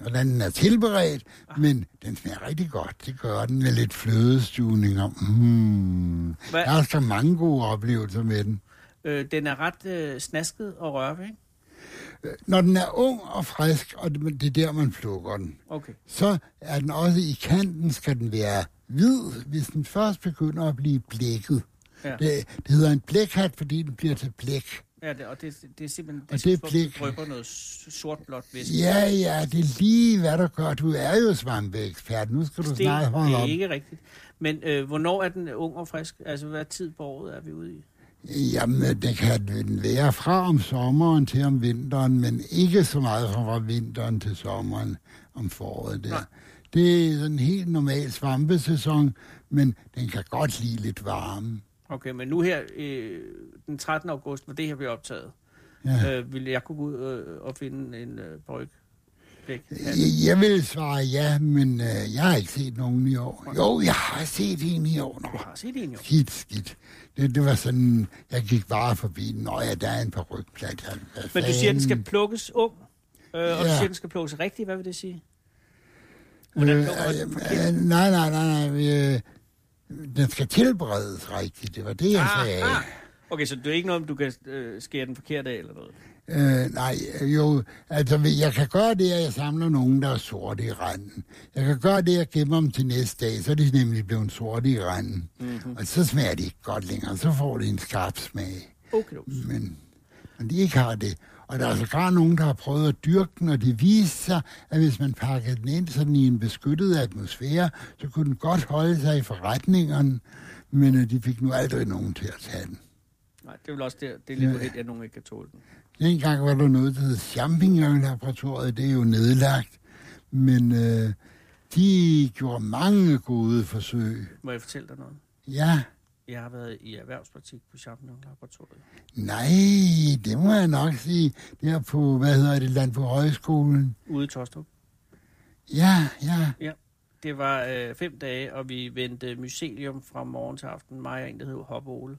S4: hvordan den er tilberedt. Men den smager rigtig godt. Det gør den med lidt flødestuning. Og, hmm.
S3: Hvad-
S4: Der er så mange gode oplevelser med den.
S3: Øh, den er ret øh, snasket og rørt, ikke?
S4: Når den er ung og frisk, og det det er der, man plukker den.
S3: Okay.
S4: så er den også i kanten, skal den være hvid, hvis den først begynder at blive blækket.
S3: Ja.
S4: Ja. Det, det hedder en blækhat, fordi den bliver til blæk.
S3: Ja, det, og det, det er simpelthen,
S4: Og
S3: det, er
S4: det
S3: som om,
S4: blik-
S3: du drypper noget s- sort-blåt væske.
S4: Ja, ja, det er lige hvad der gør. Du er jo svampeekspert. Nu skal du
S3: det,
S4: snart
S3: det
S4: holde
S3: er
S4: op.
S3: ikke rigtigt. Men øh, hvornår er den ung og frisk? Altså, hvad tid på året er vi ude i?
S4: Jamen, det kan den være fra om sommeren til om vinteren, men ikke så meget fra vinteren til sommeren om foråret der.
S3: Nej.
S4: Det er sådan en helt normal svampesæson, men den kan godt lide lidt varme.
S3: Okay, men nu her, øh, den 13. august, hvor det her bliver optaget,
S4: Ja.
S3: øh, ville jeg kunne gå ud øh, og finde en øh, paryk øjeblik?
S4: Jeg, jeg vil svare ja, men øh, jeg har ikke set nogen i år. Jo, jeg har set en i år.
S3: Du
S4: Nå,
S3: har set en jo.
S4: skidt, skidt. Det, det var sådan, jeg gik bare forbi den. Nå ja, der er en par rygplat.
S3: Men du siger, at den skal plukkes ung, øh, og du
S4: Ja.
S3: siger, at den skal plukkes rigtigt. Hvad vil det sige?
S4: Øh,
S3: plukker man den
S4: øh, nej, nej, nej, nej. Øh, den skal tilberedes rigtigt. Det var det, jeg sagde.
S3: Ah, ah. Okay, så det er ikke noget, om du kan øh, skære den forkert af eller noget?
S4: Øh, nej, jo, altså jeg kan gøre det, at jeg samler nogen, der er sorte i randen. Jeg kan gøre det, at jeg gemmer dem til næste dag, så er de nemlig blevet sorte i randen.
S3: Mhm.
S4: Mm-hmm. Og så smager de ikke godt længere, så får de en skarp smag.
S3: Okay, du.
S4: Men, men de ikke har det. Og der er sågar nogen, der har prøvet at dyrke den, og det viste sig, at hvis man pakkede den ind sådan i en beskyttet atmosfære, så kunne den godt holde sig i forretningerne, men øh, de fik nu aldrig nogen til at tage den.
S3: Nej, det er vel også det, det er lidt uheldigt, at nogen ikke kan tåle den.
S4: Dengang var der noget, der hed Champignon-laboratoriet, det er jo nedlagt. Men øh, de gjorde mange gode forsøg.
S3: Må jeg fortælle dig noget?
S4: Ja,
S3: Jeg har været i erhvervspraktik på Champignon Laboratoriet.
S4: nej, det må jeg nok sige. Der på, hvad hedder det, land på højskolen.
S3: Ude i Tostrup.
S4: Ja, ja.
S3: Det var øh, fem dage, og vi vendte mycelium fra morgen til aften. Mig og en, der hed Hoppe Ole.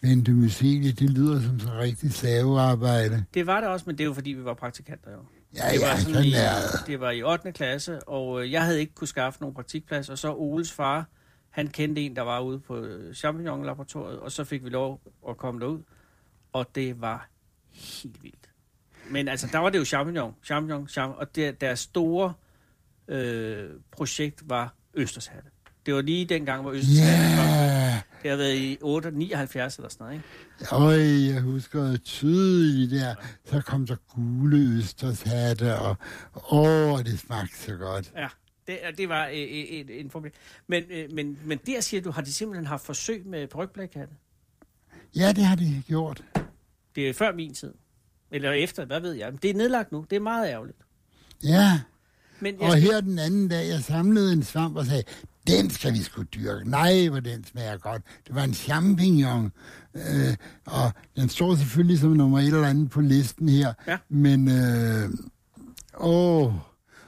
S4: Vente Mycelie, det lyder som så rigtig slavearbejde.
S3: Det var det også, men det er jo fordi, vi var praktikanter jo.
S4: Ja,
S3: det,
S4: ja,
S3: var
S4: sådan
S3: i,
S4: er det.
S3: det var i 8. klasse, og øh, jeg havde ikke kunne skaffe nogen praktikplads, og så Oles far, han kendte en, der var ude på øh, Champignon-laboratoriet, og så fik vi lov at komme derud, og det var helt vildt. Men altså, der var det jo champignon, champignon, champignon, og der, deres store øh, projekt var Østershatte. Det var lige dengang, hvor Østershatte kom.
S4: Ja,
S3: Det har været i 8, 79 eller sådan noget, ikke?
S4: Øj, jeg husker tydeligt der, så kom der gule østershatte, og åh, det smagte så godt.
S3: Ja, det, og det var øh, øh, en, en problem. Men, øh, men, men der siger du, har de simpelthen haft forsøg med brygplakatte?
S4: Ja, det har de gjort.
S3: Det er før min tid. Eller efter, hvad ved jeg. Men det er nedlagt nu. Det er meget ærgerligt.
S4: Ja,
S3: Men jeg
S4: og
S3: skal,
S4: her den anden dag, jeg samlede en svamp og sagde, den skal vi sgu dyrke. Nej, hvor den smager godt. Det var en champignon, øh, og den står selvfølgelig som nummer et eller andet på listen her.
S3: Ja.
S4: Men, øh, åh,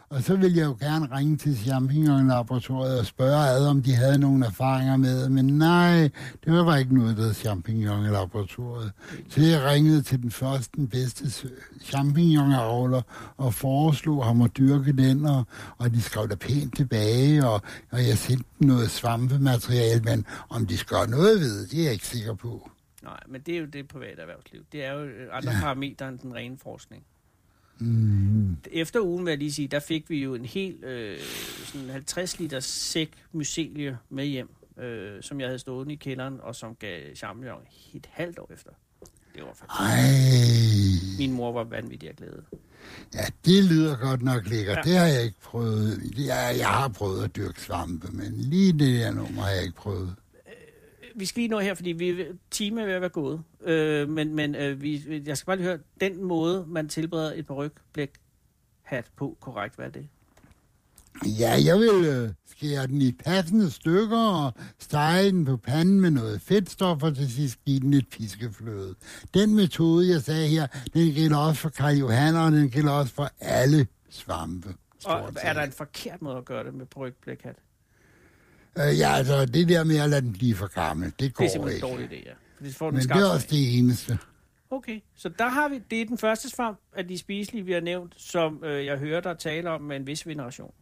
S4: og så ville jeg jo gerne ringe til Champignon-laboratoriet og spørge ad, om de havde nogle erfaringer med, men nej, det var bare ikke noget, der hed Champignon-laboratoriet. Så jeg ringede til den første, den bedste s- champignon-avler og foreslog ham at dyrke den, og, og de skrev da pænt tilbage, og, og jeg sendte dem noget svampemateriale, men om de skal gøre noget ved, det er jeg ikke sikker på.
S3: nej, men det er jo det private erhvervsliv. Det er jo øh, andre
S4: Ja.
S3: parametre end den rene forskning. Mm-hmm.
S4: Mm.
S3: Efter ugen, vil jeg lige sige, der fik vi jo en hel øh, sådan 50 liter sæk mycelie med hjem, øh, som jeg havde stået i kælderen, og som gav champignon et halvt år efter. Det var faktisk.
S4: Ej.
S3: Min mor var vanvittig af glæde.
S4: Ja, det lyder godt nok lækkert.
S3: Ja.
S4: Ja. Det har jeg ikke prøvet. Jeg, jeg har prøvet at dyrke svampe, men lige det der nummer har jeg ikke prøvet.
S3: vi skal lige nå her, fordi vi er ved- time er ved at være gået. Øh, men men øh, vi, jeg skal bare lige høre, den måde, man tilbereder et parykblæk hat på, korrekt, hvad er det?
S4: Ja, jeg vil øh, skære den i passende stykker og stege den på panden med noget fedtstof, og til sidst give den lidt piskefløde. Den metode, jeg sagde her, den gælder også for Karl Johan, og den gælder også for alle svampe.
S3: Og
S4: stort
S3: er der
S4: set.
S3: en forkert måde at gøre det med parykblæk hat?
S4: Øh, ja, altså, det der med at lade den blive for gammel, det går
S3: Det er simpelthen
S4: ikke.
S3: en dårlig idé, ja. Fordi så får den
S4: Men
S3: en
S4: det
S3: skarp
S4: er
S3: smag.
S4: også det eneste.
S3: Okay, så der har vi, det er den første svamp af de spiselige, vi har nævnt, som øh, jeg hører dig tale om med en vis veneration.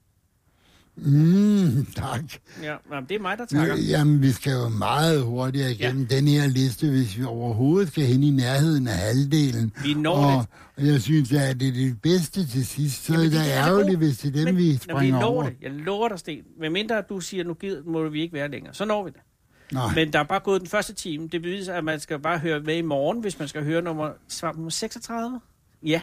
S4: Mm, tak.
S3: Ja, jamen, det er mig, der
S4: Nu,
S3: takker.
S4: Øh, Jamen, vi skal jo meget hurtigere igennem ja. den her liste, hvis vi overhovedet skal hen i nærheden af halvdelen.
S3: Vi når
S4: og,
S3: det.
S4: og jeg synes, at det er det bedste til sidst, så
S3: Jamen,
S4: er
S3: det
S4: det
S3: er det
S4: ærgerligt,
S3: gode.
S4: hvis det er dem,
S3: Men
S4: vi
S3: når vi
S4: springer
S3: når
S4: over.
S3: det, jeg lover dig, Sten, medmindre du siger, nu gider, må vi ikke være længere, så når vi det.
S4: Nå,
S3: Men der er bare gået den første time. Det beviser, at man skal bare høre med i morgen, hvis man skal høre nummer, svar nummer 36. Ja,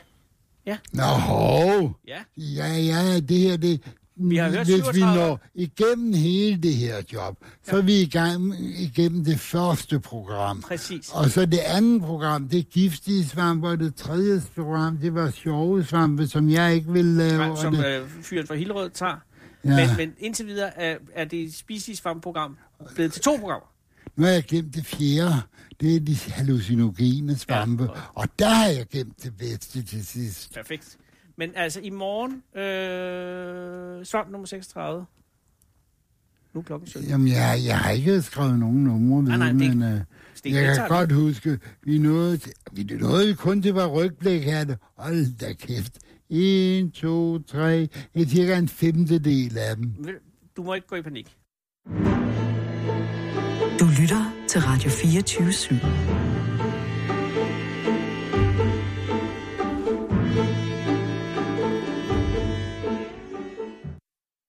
S4: nå hov.
S3: ja.
S4: Ja, ja, det her, det...
S3: Vi har hørt
S4: Hvis vi
S3: 37.
S4: når igennem hele det her job, så er vi i gang igennem det første program.
S3: Præcis.
S4: Og så det andet program, det er giftige svampe, og det tredje program, det var sjove svampe, som jeg ikke ville lave.
S3: Nej,
S4: og
S3: Som
S4: det,
S3: øh, fyren fra Hillerød tager.
S4: ja.
S3: Men, men indtil videre er, er det spiselige svampeprogram blevet til to programmer.
S4: Nu har jeg glemt det fjerde. Det er de hallucinogene svampe.
S3: Ja.
S4: Ja. Og der har jeg glemt det bedste til sidst.
S3: Perfekt. Men altså, i morgen, øh, svamp nummer 36. Nu er klokken 17.
S4: Jamen, jeg, jeg har ikke skrevet nogen numre med,
S3: Nej, nej, det er
S4: men øh,
S3: Stig, det
S4: jeg
S3: tager
S4: kan
S3: vi.
S4: godt huske, vi nåede, til- vi nåede kun til var rygblækhatte. Hold da kæft. En, to, tre. Det er cirka en femtedel af dem.
S3: Vil- Du må ikke gå i panik.
S1: Du lytter til Radio 24 /7.